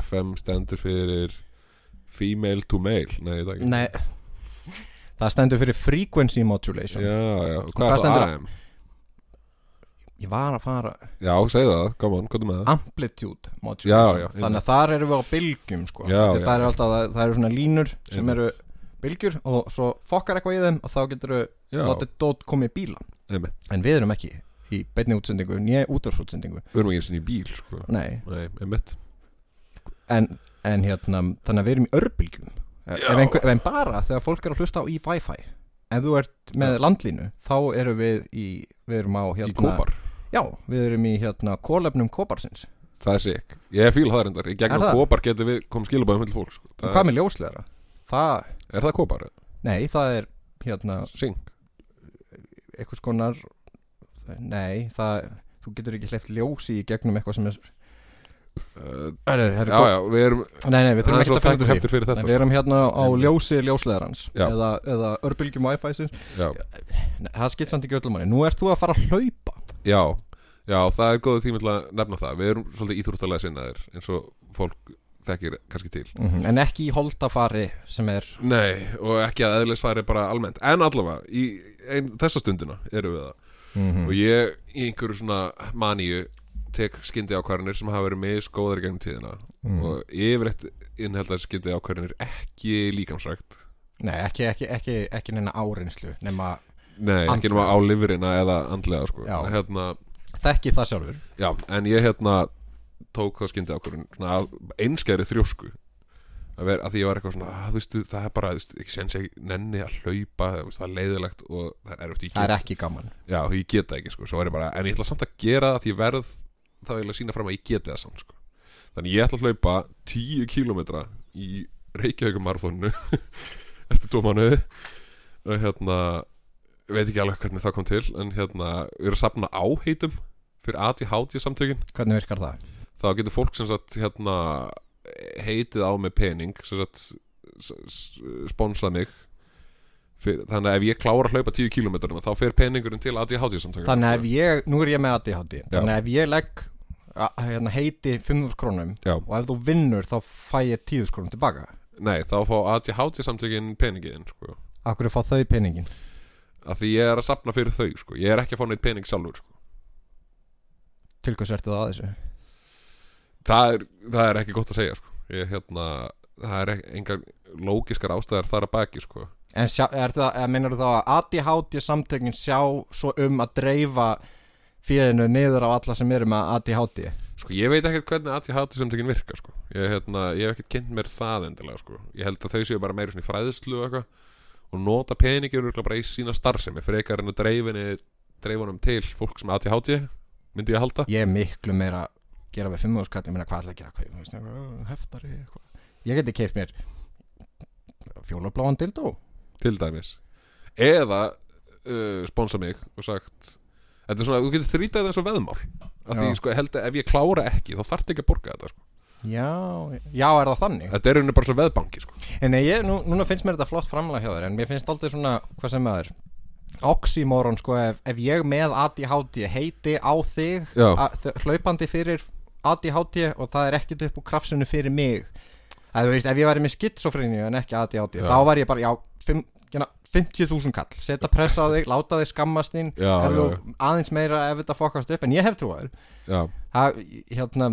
Speaker 1: FM stendur fyrir Female to Male Nei, það ekki
Speaker 2: Nei Það stendur fyrir frequency modulation
Speaker 1: Já, já, hvað,
Speaker 2: Hvað
Speaker 1: er
Speaker 2: stendur
Speaker 1: það
Speaker 2: á?
Speaker 1: AM?
Speaker 2: Ég var að fara
Speaker 1: Já, segðu það, come on, hvað er með
Speaker 2: Ah,
Speaker 1: það?
Speaker 2: Amplitude
Speaker 1: Já,
Speaker 2: modulation
Speaker 1: já,
Speaker 2: Þannig að þar erum við á bylgjum sko.
Speaker 1: Já,
Speaker 2: Því
Speaker 1: já.
Speaker 2: Það er alltaf, það eru svona línur sem
Speaker 1: Einmitt.
Speaker 2: eru bylgjur og svo fokkar eitthvað í þeim og þá getur við
Speaker 1: Já,
Speaker 2: látið dót komið í bíla
Speaker 1: einmitt.
Speaker 2: En við erum ekki í beinni útsendingu, nýja útvarsútsendingu
Speaker 1: við erum ekki eins og í bíl, sko
Speaker 2: Nei,
Speaker 1: Nei, einmitt
Speaker 2: en, en hérna, þannig að við erum í örbylgjum Ef
Speaker 1: Já.
Speaker 2: einhver, ef en bara þegar fólk er að hlusta á í Wi-Fi Ef þú ert með landlínu, þá erum við í, við erum á hérna
Speaker 1: Í kópar,
Speaker 2: Já, við erum í hérna kólefnum kóparsins
Speaker 1: það er sikk Ég er fíl það reyndar, í
Speaker 2: Er
Speaker 1: gegnum
Speaker 2: það?
Speaker 1: kópar getur við kom skilabæðum með fólk, sko
Speaker 2: Hvað með ljósleðara? það,
Speaker 1: Er það kópar?
Speaker 2: nei, það er hérna,
Speaker 1: Sing?
Speaker 2: einhvers konar nei, það þú getur ekki hleyft ljósi í gegnum eitthvað sem er
Speaker 1: Uh,
Speaker 2: Heru,
Speaker 1: já, já, við erum
Speaker 2: Nei, nei,
Speaker 1: Það
Speaker 2: við þurfum
Speaker 1: er
Speaker 2: ekki
Speaker 1: svo
Speaker 2: að finna út úr því
Speaker 1: þekkt fyrir
Speaker 2: Nei,
Speaker 1: þetta sko.
Speaker 2: Við erum hérna á
Speaker 1: Nei.
Speaker 2: ljósi ljósleðarans
Speaker 1: Já.
Speaker 2: eða, eða örbylgjum Wi-Fi-sins
Speaker 1: já,
Speaker 2: Nei, Það skipt samt ekki öllum manni Nú ert þú að fara að hlaupa
Speaker 1: já, já, það er góðu tími til að nefna það Við erum svolítið íþróttalega sinnaðir eins og fólk þekkir kannski til
Speaker 2: En ekki í holdafari sem er
Speaker 1: Nei, og ekki að eðlisfæri bara almennt En allavega, í ein, þessa stundina erum við það
Speaker 2: Hmm.
Speaker 1: Og ég í einhverju svona maníu tek skyndi ákvarðanir sem hafa verið misgóðar í gegnum tíðina
Speaker 2: Hmm.
Speaker 1: og yfirleitt innheld að skyndi ákvarðanir ekki líkamsrækt
Speaker 2: Nei, ekki, ekki, ekki, ekki neina áreinslu nema
Speaker 1: Nei, ekki
Speaker 2: Andlega.
Speaker 1: nema á lifurina eða andlega sko.
Speaker 2: Já.
Speaker 1: Hérna,
Speaker 2: þekki það sjálfur
Speaker 1: já, en ég hérna tók það skyndi ákvarðan svona, af einskæri þrjósku að, vera, að því ég var eitthvað svona, að, þú veistu, það er bara þú veistu, ekki sens ég nenni að hlaupa þú veistu, það er leiðilegt og það er erfitt ég get-
Speaker 2: Það er ekki gaman
Speaker 1: Já, því ég geta ekki, sko, svo er ég bara En ég ætla samt að gera það því ég verð Þá ég ætla að sína fram að ég geti það samt, sko Þannig ég ætla að hlaupa 10 kílómetra Í Reykjavíkumarþónu Eftir tvo mánuði Og hérna Veit ekki alveg hvernig það kom til En hérna, við erum að safna áheitum Fyrir ADHD samtökin
Speaker 2: Hvernig virkar það?
Speaker 1: Þá getur fólk sem sagt, hérna Heitið á með pening Sem sagt, s- s- sponsað mig Fyrir, þannig að ef ég klára að hlaupa 10 km þá fer peningurinn til ADHD samtökin
Speaker 2: Þannig að ef ég, nú er ég með ADHD Þannig að ef ég legg a- hérna, heiti 500 krónum
Speaker 1: Já,
Speaker 2: og ef þú vinnur þá fæ ég 10 krónum tilbaka
Speaker 1: nei, þá fá ADHD samtökin peningiðin, sko
Speaker 2: Akkur er fá þau peningin
Speaker 1: að því ég er að sapna fyrir þau, sko ég er ekki að fá neitt pening sjálfur, sko
Speaker 2: Til hvers ertu það að þessu?
Speaker 1: það er, það er ekki gott að segja, sko ég, hérna, það er ek- engar lógiskar ástæðar þar að baki, sko
Speaker 2: En sjá, er það, meinar þá að ADHD samtökin sjá svo um að dreifa fíðinu niður á alla sem eru með ADHD?
Speaker 1: sko, ég veit ekkert hvernig ADHD samtökin virka, sko ég, hérna, ég hef ekkert kynnt mér það endilega, sko ég held að þau séu bara meira svona í fræðslu og eitthvað og nota peningin örugglega bara í sína starfsemi frekar en að dreifinni dreifunum til fólk sem ADHD myndi ég halda
Speaker 2: Ég er miklu meira að gera við fimmúðskall, ég meina hvað ætla að gera, hvað, þú veist, eitthvað, heftari, eitthvað. Ég geti keift mér fjólabláan dildó.
Speaker 1: til dæmis eða uh, sponsa mig og sagt þetta er svona, þú getur þrítið þessu veðmál af því
Speaker 2: Já.
Speaker 1: sko, ég held að ef ég klára ekki þá þarf ekki að borga þetta sko.
Speaker 2: Já, já, er það þannig?
Speaker 1: þetta er henni bara svo veðbanki sko.
Speaker 2: En nei, ég, nú, núna finnst mér þetta flott framlega hjá þér, en mér finnst aldrei svona, hvað sem það er, oxymoron, sko, ef, ef ég með ADHD heiti á þig
Speaker 1: já,
Speaker 2: að- þ- hlaupandi fyrir ADHD og það er ekkert upp úr krafsinu fyrir mig að þú veist, ef ég væri með skitsofrinu en ekki ADHD,
Speaker 1: Já.
Speaker 2: þá væri ég bara, já fimm- hérna, 50.000 kall, setja pressa á þig láta þig skammast þín
Speaker 1: Já,
Speaker 2: ef
Speaker 1: já,
Speaker 2: þú aðeins meira ef þetta fokast upp en ég hef trúið
Speaker 1: já,
Speaker 2: það, hérna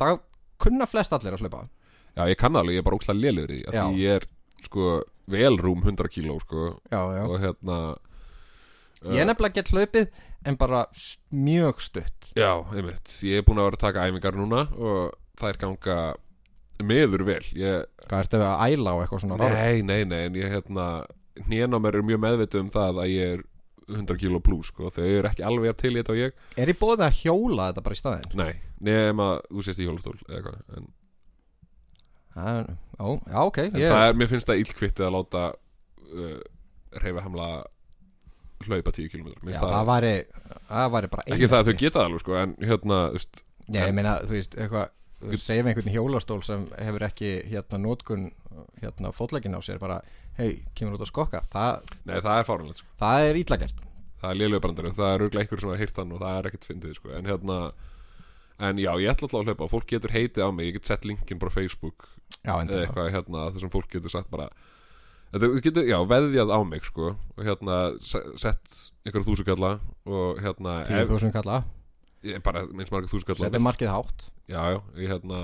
Speaker 2: það kunna flest allir að hlaupa
Speaker 1: já, ég kann alveg, ég er bara ókslega lélugur í því af
Speaker 2: Já.
Speaker 1: því ég er sko, vel rúm 100 kíló sko,
Speaker 2: já, já.
Speaker 1: og hérna uh,
Speaker 2: ég er nefnilega gett hlaupið en bara s- mjög stutt
Speaker 1: eh, já, einmitt, ég er búin að vera að taka æfingar núna og það er ganga meður vel ég
Speaker 2: hvað ertu að æla á eitthvað svona ráð?
Speaker 1: Nei, nei, nei, en ég hérna Hnén á mér er mjög meðvitið um það að ég er 100 kg plus, sko, þau eru ekki alveg jafn til í þetta og ég,
Speaker 2: er ég bóðið að hjóla þetta bara í staðin?
Speaker 1: nei, nema þú sést í hjólastól eða eitthvað, en,
Speaker 2: Það er- ó, já, ok,
Speaker 1: en
Speaker 2: ég
Speaker 1: það er, mér finnst það illkvittið að láta uh, reyfa hamla hlaupa 10 km, mér
Speaker 2: Já,
Speaker 1: finnst
Speaker 2: það
Speaker 1: það,
Speaker 2: væri, það væri bara
Speaker 1: ekki það að þau geta það alveg, sko, en hérna, þú veist,
Speaker 2: Nei, ég meina, þú veist, eitthvað þú segir við einhvern í hjólastól sem hefur ekki hérna nótkun hérna fótleggin á sér bara, hei, kemur út að skokka það,
Speaker 1: nei, það er fárunlegt, sko,
Speaker 2: það er ítla gert
Speaker 1: það er liðlega brandari, það er auðvitað einhver sem að heyrt hann og það er ekkert fyndið, sko, en hérna, en já, ég ætla alltaf að hlaupa, og fólk getur heitið á mig, ég get sett linkin bara á Facebook,
Speaker 2: Já, en
Speaker 1: eða eitthvað hérna þar sem fólk getur sagt bara þetta þú getur, já, veðjað á mig sko og hérna se- sett einhverja þúsugalla og hérna
Speaker 2: tíu
Speaker 1: ef,
Speaker 2: þúsund kalla,
Speaker 1: ég, bara eins marga þúsugalla
Speaker 2: setja markið hátt
Speaker 1: já, já, ég hérna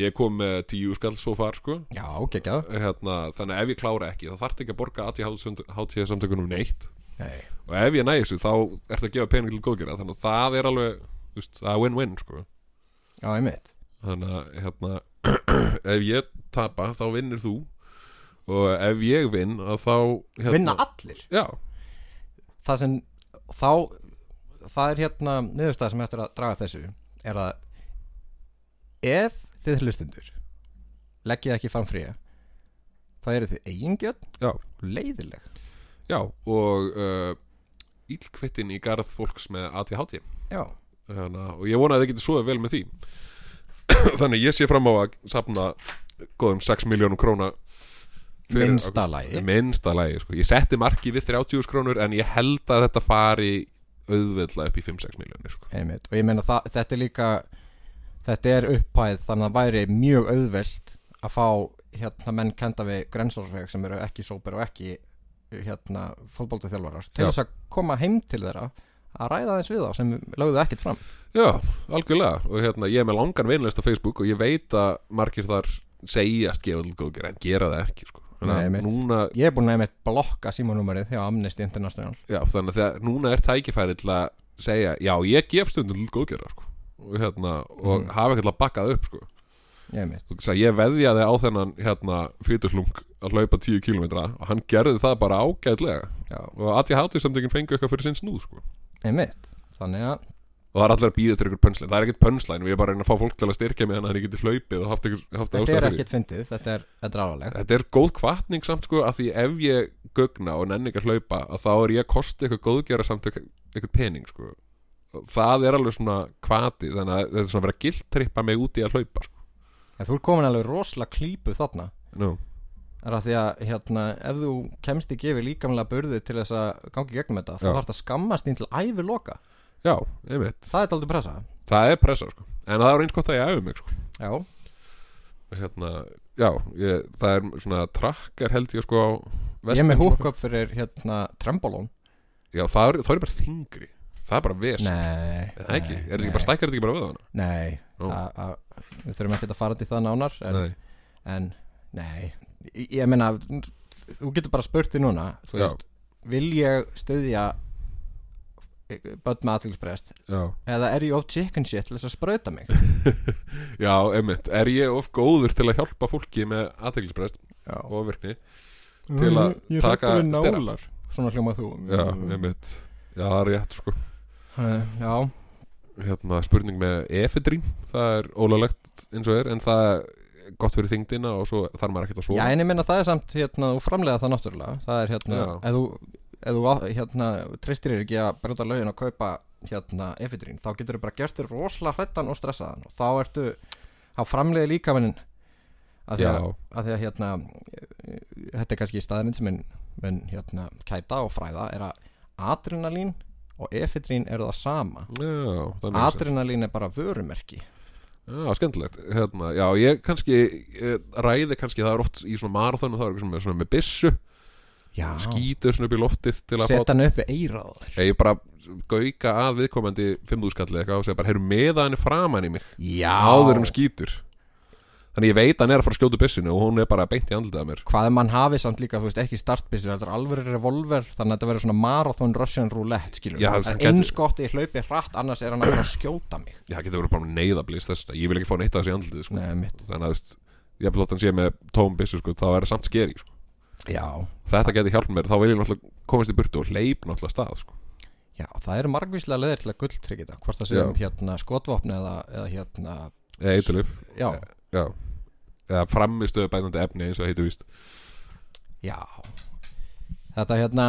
Speaker 1: ég kom með tíu skall svo far sko
Speaker 2: Já, geggjað
Speaker 1: hérna, þannig að ef ég klára ekki þá þarf ekki að borga ATH samtökunum neitt
Speaker 2: Nei,
Speaker 1: og ef ég næði þessu þá ertu að gefa pening til góðgerða þannig að það er alveg, þú veist, það er win-win sko
Speaker 2: já, einmitt
Speaker 1: þannig að hérna, ef ég tapa þá vinnir þú og ef ég vinn að þá hérna,
Speaker 2: Vinna allir
Speaker 1: já,
Speaker 2: Það sem, þá það er hérna niðurstað sem eftir að draga þessu er að ef þið hlustundur leggið ekki fram fríja það eru þið eigingjöld
Speaker 1: Já.
Speaker 2: og leiðileg
Speaker 1: Já, og uh, ílkvettin í garð fólks með ADHD
Speaker 2: já,
Speaker 1: Þannig, að- Hérna, og ég vona að þið getur svoðið vel með því Þannig ég sé fram á að safna góðum 6 miljónum króna fyrir
Speaker 2: Minnsta
Speaker 1: ágúst.
Speaker 2: lagi.
Speaker 1: Minnsta lagi, sko Ég setti markið við 30 krónur en ég held að þetta fari auðveldla upp í 5-6 miljónir sko.
Speaker 2: einmitt og ég meina það, þetta er líka þetta er upphæð þannig að það væri mjög auðvelt að fá hérna menn kenda við grensórsveg sem eru ekki sóper og ekki hérna fótboltaþjálfarar til
Speaker 1: Já.
Speaker 2: þess að koma heim til þeirra að ræða þess við þá sem lögðu ekkert fram
Speaker 1: Já, algjörlega og hérna, ég er með langan vinlist á Facebook og ég veit að margir þar segjast gera allir góðgerð en gera það ekki sko.
Speaker 2: Nei,
Speaker 1: Þannig
Speaker 2: einmitt.
Speaker 1: að núna,
Speaker 2: ég er búin að einmitt blokka símanúmerið hjá Amnesty International
Speaker 1: já, þannig að þegar- núna er tækifæri til að segja, já, ég gef stundum allir góðgerða sko. og, hérna, og
Speaker 2: Mm.
Speaker 1: hafa ekkert að bakkað upp sko.
Speaker 2: ég einmitt
Speaker 1: Þú sagði, ég veðjaði á þennan hérna, fytuslung að hlaupa 10 km og hann gerði það bara ágætlega
Speaker 2: já,
Speaker 1: og að ég hátu samtökin fengu eitthvað fyrir sinn snúð sko.
Speaker 2: einmitt þannig að
Speaker 1: og það er allir að býða til ykkur pönslæn það er ekkert pönslæn, við erum bara að reyna að fá fólk til að styrkja mig þannig að ég geti hlaupið og haft, ykkur, haft
Speaker 2: þetta
Speaker 1: ástæðu
Speaker 2: er
Speaker 1: fyrir því.
Speaker 2: ekkert fyndið, þetta er, þetta er alvarleg
Speaker 1: þetta er góð kvartning samt sko að því ef ég gögna og nenni ekki að hlaupa að þá er ég að kosta eitthvað góðgera samt eitthvað pening sko Og það er alveg svona kvati þannig að þetta er svona verið að gildtrippa mig út í að hlaupa sko.
Speaker 2: en þú er komin alveg rosalega klípu þarna
Speaker 1: no.
Speaker 2: er að því að hérna, ef þú kemst ekki yfir líkamlega burði til þess að gangi gegnum þetta þá
Speaker 1: Já.
Speaker 2: þarf það að skammast þín til ævi loka
Speaker 1: já, einmitt,
Speaker 2: það er aldrei pressa
Speaker 1: það er pressa sko en það er eins gott að ég æfum mig sko
Speaker 2: já,
Speaker 1: hérna, já, ég, það er svona trakkar held ég sko á
Speaker 2: ég er
Speaker 1: vestan
Speaker 2: með húk upp fyrir hérna trembolón
Speaker 1: já, það er, það er bara þingri það er bara ves nei,
Speaker 2: nei,
Speaker 1: það ekki, er þetta
Speaker 2: nei,
Speaker 1: ekki bara stækkar þetta ekki bara við hana
Speaker 2: nei,
Speaker 1: Ó.
Speaker 2: það- að- við þurfum ekki að fara til það nánar en,
Speaker 1: nei,
Speaker 2: en nei, ég, ég meina þú getur bara spurt því núna þú
Speaker 1: Já.
Speaker 2: veist, vil ég styðja eh, börn með aðtilsprest
Speaker 1: já,
Speaker 2: eða er ég of chicken shit til þess að sprauta mig
Speaker 1: já, einmitt er ég of góður til að hjálpa fólki með aðteglisprest
Speaker 2: já.
Speaker 1: og virkni til að
Speaker 2: Mm, Ég er
Speaker 1: taka
Speaker 2: hræddur við
Speaker 1: stera.
Speaker 2: nálar. Mm. svona hljómað þú
Speaker 1: já, einmitt, já, það er rétt sko
Speaker 2: Eh, já,
Speaker 1: hérna, spurning með efedrín það er ólulegt eins og er en það er gott fyrir þingdina og svo þarf maður ekkert að
Speaker 2: já
Speaker 1: sofa
Speaker 2: en ég minna það er samt hérna, þú framlega það náttúrulega það er hérna,
Speaker 1: Já.
Speaker 2: ef þú, ef þú á- hérna, tristir þér ekki að brjóta lögin og kaupa hérna, efidrín, þá getur þú bara gerst þér rosalega hrættan og stressaðan og þá ertu þá framlega líka mennin að því að,
Speaker 1: Já.
Speaker 2: að, því að hérna, eh, þetta er kannski staðarinn sem minn, minn hérna, kæta og fræða er að adrenalín og efidrín eru það sama
Speaker 1: já, það er
Speaker 2: adrenalín er bara vörumerki
Speaker 1: Já, skemmtilegt, hérna, já, ég kannski ég ræði kannski, það er oft í svona marathonu það er eitthvað sem er svona með byssu
Speaker 2: já,
Speaker 1: skýtur svona upp í loftið til að
Speaker 2: seta hann upp við eirað
Speaker 1: fá ég bara gauka að viðkomandi fimmúðskalli eitthvað og segja bara, heyrðu meða henni framan í mig
Speaker 2: já,
Speaker 1: áður um skýtur þannig ég veit að hann er að fara að skjóta upp byssinu og hún er bara beint í andlitað á mér
Speaker 2: hvað er mann hafi samt líka, þú veist, ekki startbissur heldur alveg revolver, þannig að þetta verður svona marathon Russian roulette, skilur
Speaker 1: Já,
Speaker 2: við
Speaker 1: það
Speaker 2: Það
Speaker 1: gæti-
Speaker 2: er eins gott ég hlaupi hratt, annars er hann að fara að skjóta mig
Speaker 1: já, það getur verið bara neyðablís þess vegna. ég vil ekki fá neitt af þessi andlitið sko.
Speaker 2: Nei, mitt
Speaker 1: þannig að, þú veist, ég blótt hann sé með tóm byssu sko, þá er það samt skeri sko.
Speaker 2: Já,
Speaker 1: þetta getur hjálp mér, þá vil ég náttúrulega komast í burtu og hleyp náttúrulega af stað sko.
Speaker 2: já, það eru margvíslega leðir til að gulltryggja þetta, hvort það sé
Speaker 1: Já.
Speaker 2: um hérna skotvopni eða, eða hérna,
Speaker 1: eða eiturlyf.
Speaker 2: já,
Speaker 1: Já Eða framistöðu bætandi efni eins og heitir víst
Speaker 2: já Þetta hérna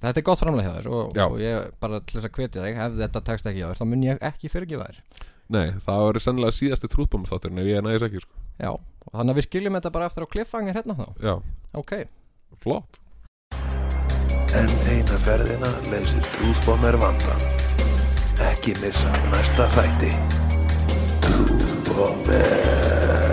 Speaker 2: Þetta er gott framlega hjá þér og,
Speaker 1: Já.
Speaker 2: og ég bara til þess að hvetja þig ef þetta tekst ekki hjá þér, þá mun ég ekki fyrirgifa þér
Speaker 1: Nei, það verður sennilega síðasti trúðbóma þátturinn ef ég næðis ekki sko.
Speaker 2: Já, og þannig að við skiljum þetta bara eftir á kliffangir hérna þá,
Speaker 1: Já,
Speaker 2: ok
Speaker 1: flott
Speaker 4: Enn eina ferðina leysir Trúðbomber vandan. Ekki missa af næsta þætti. Trúðbomber.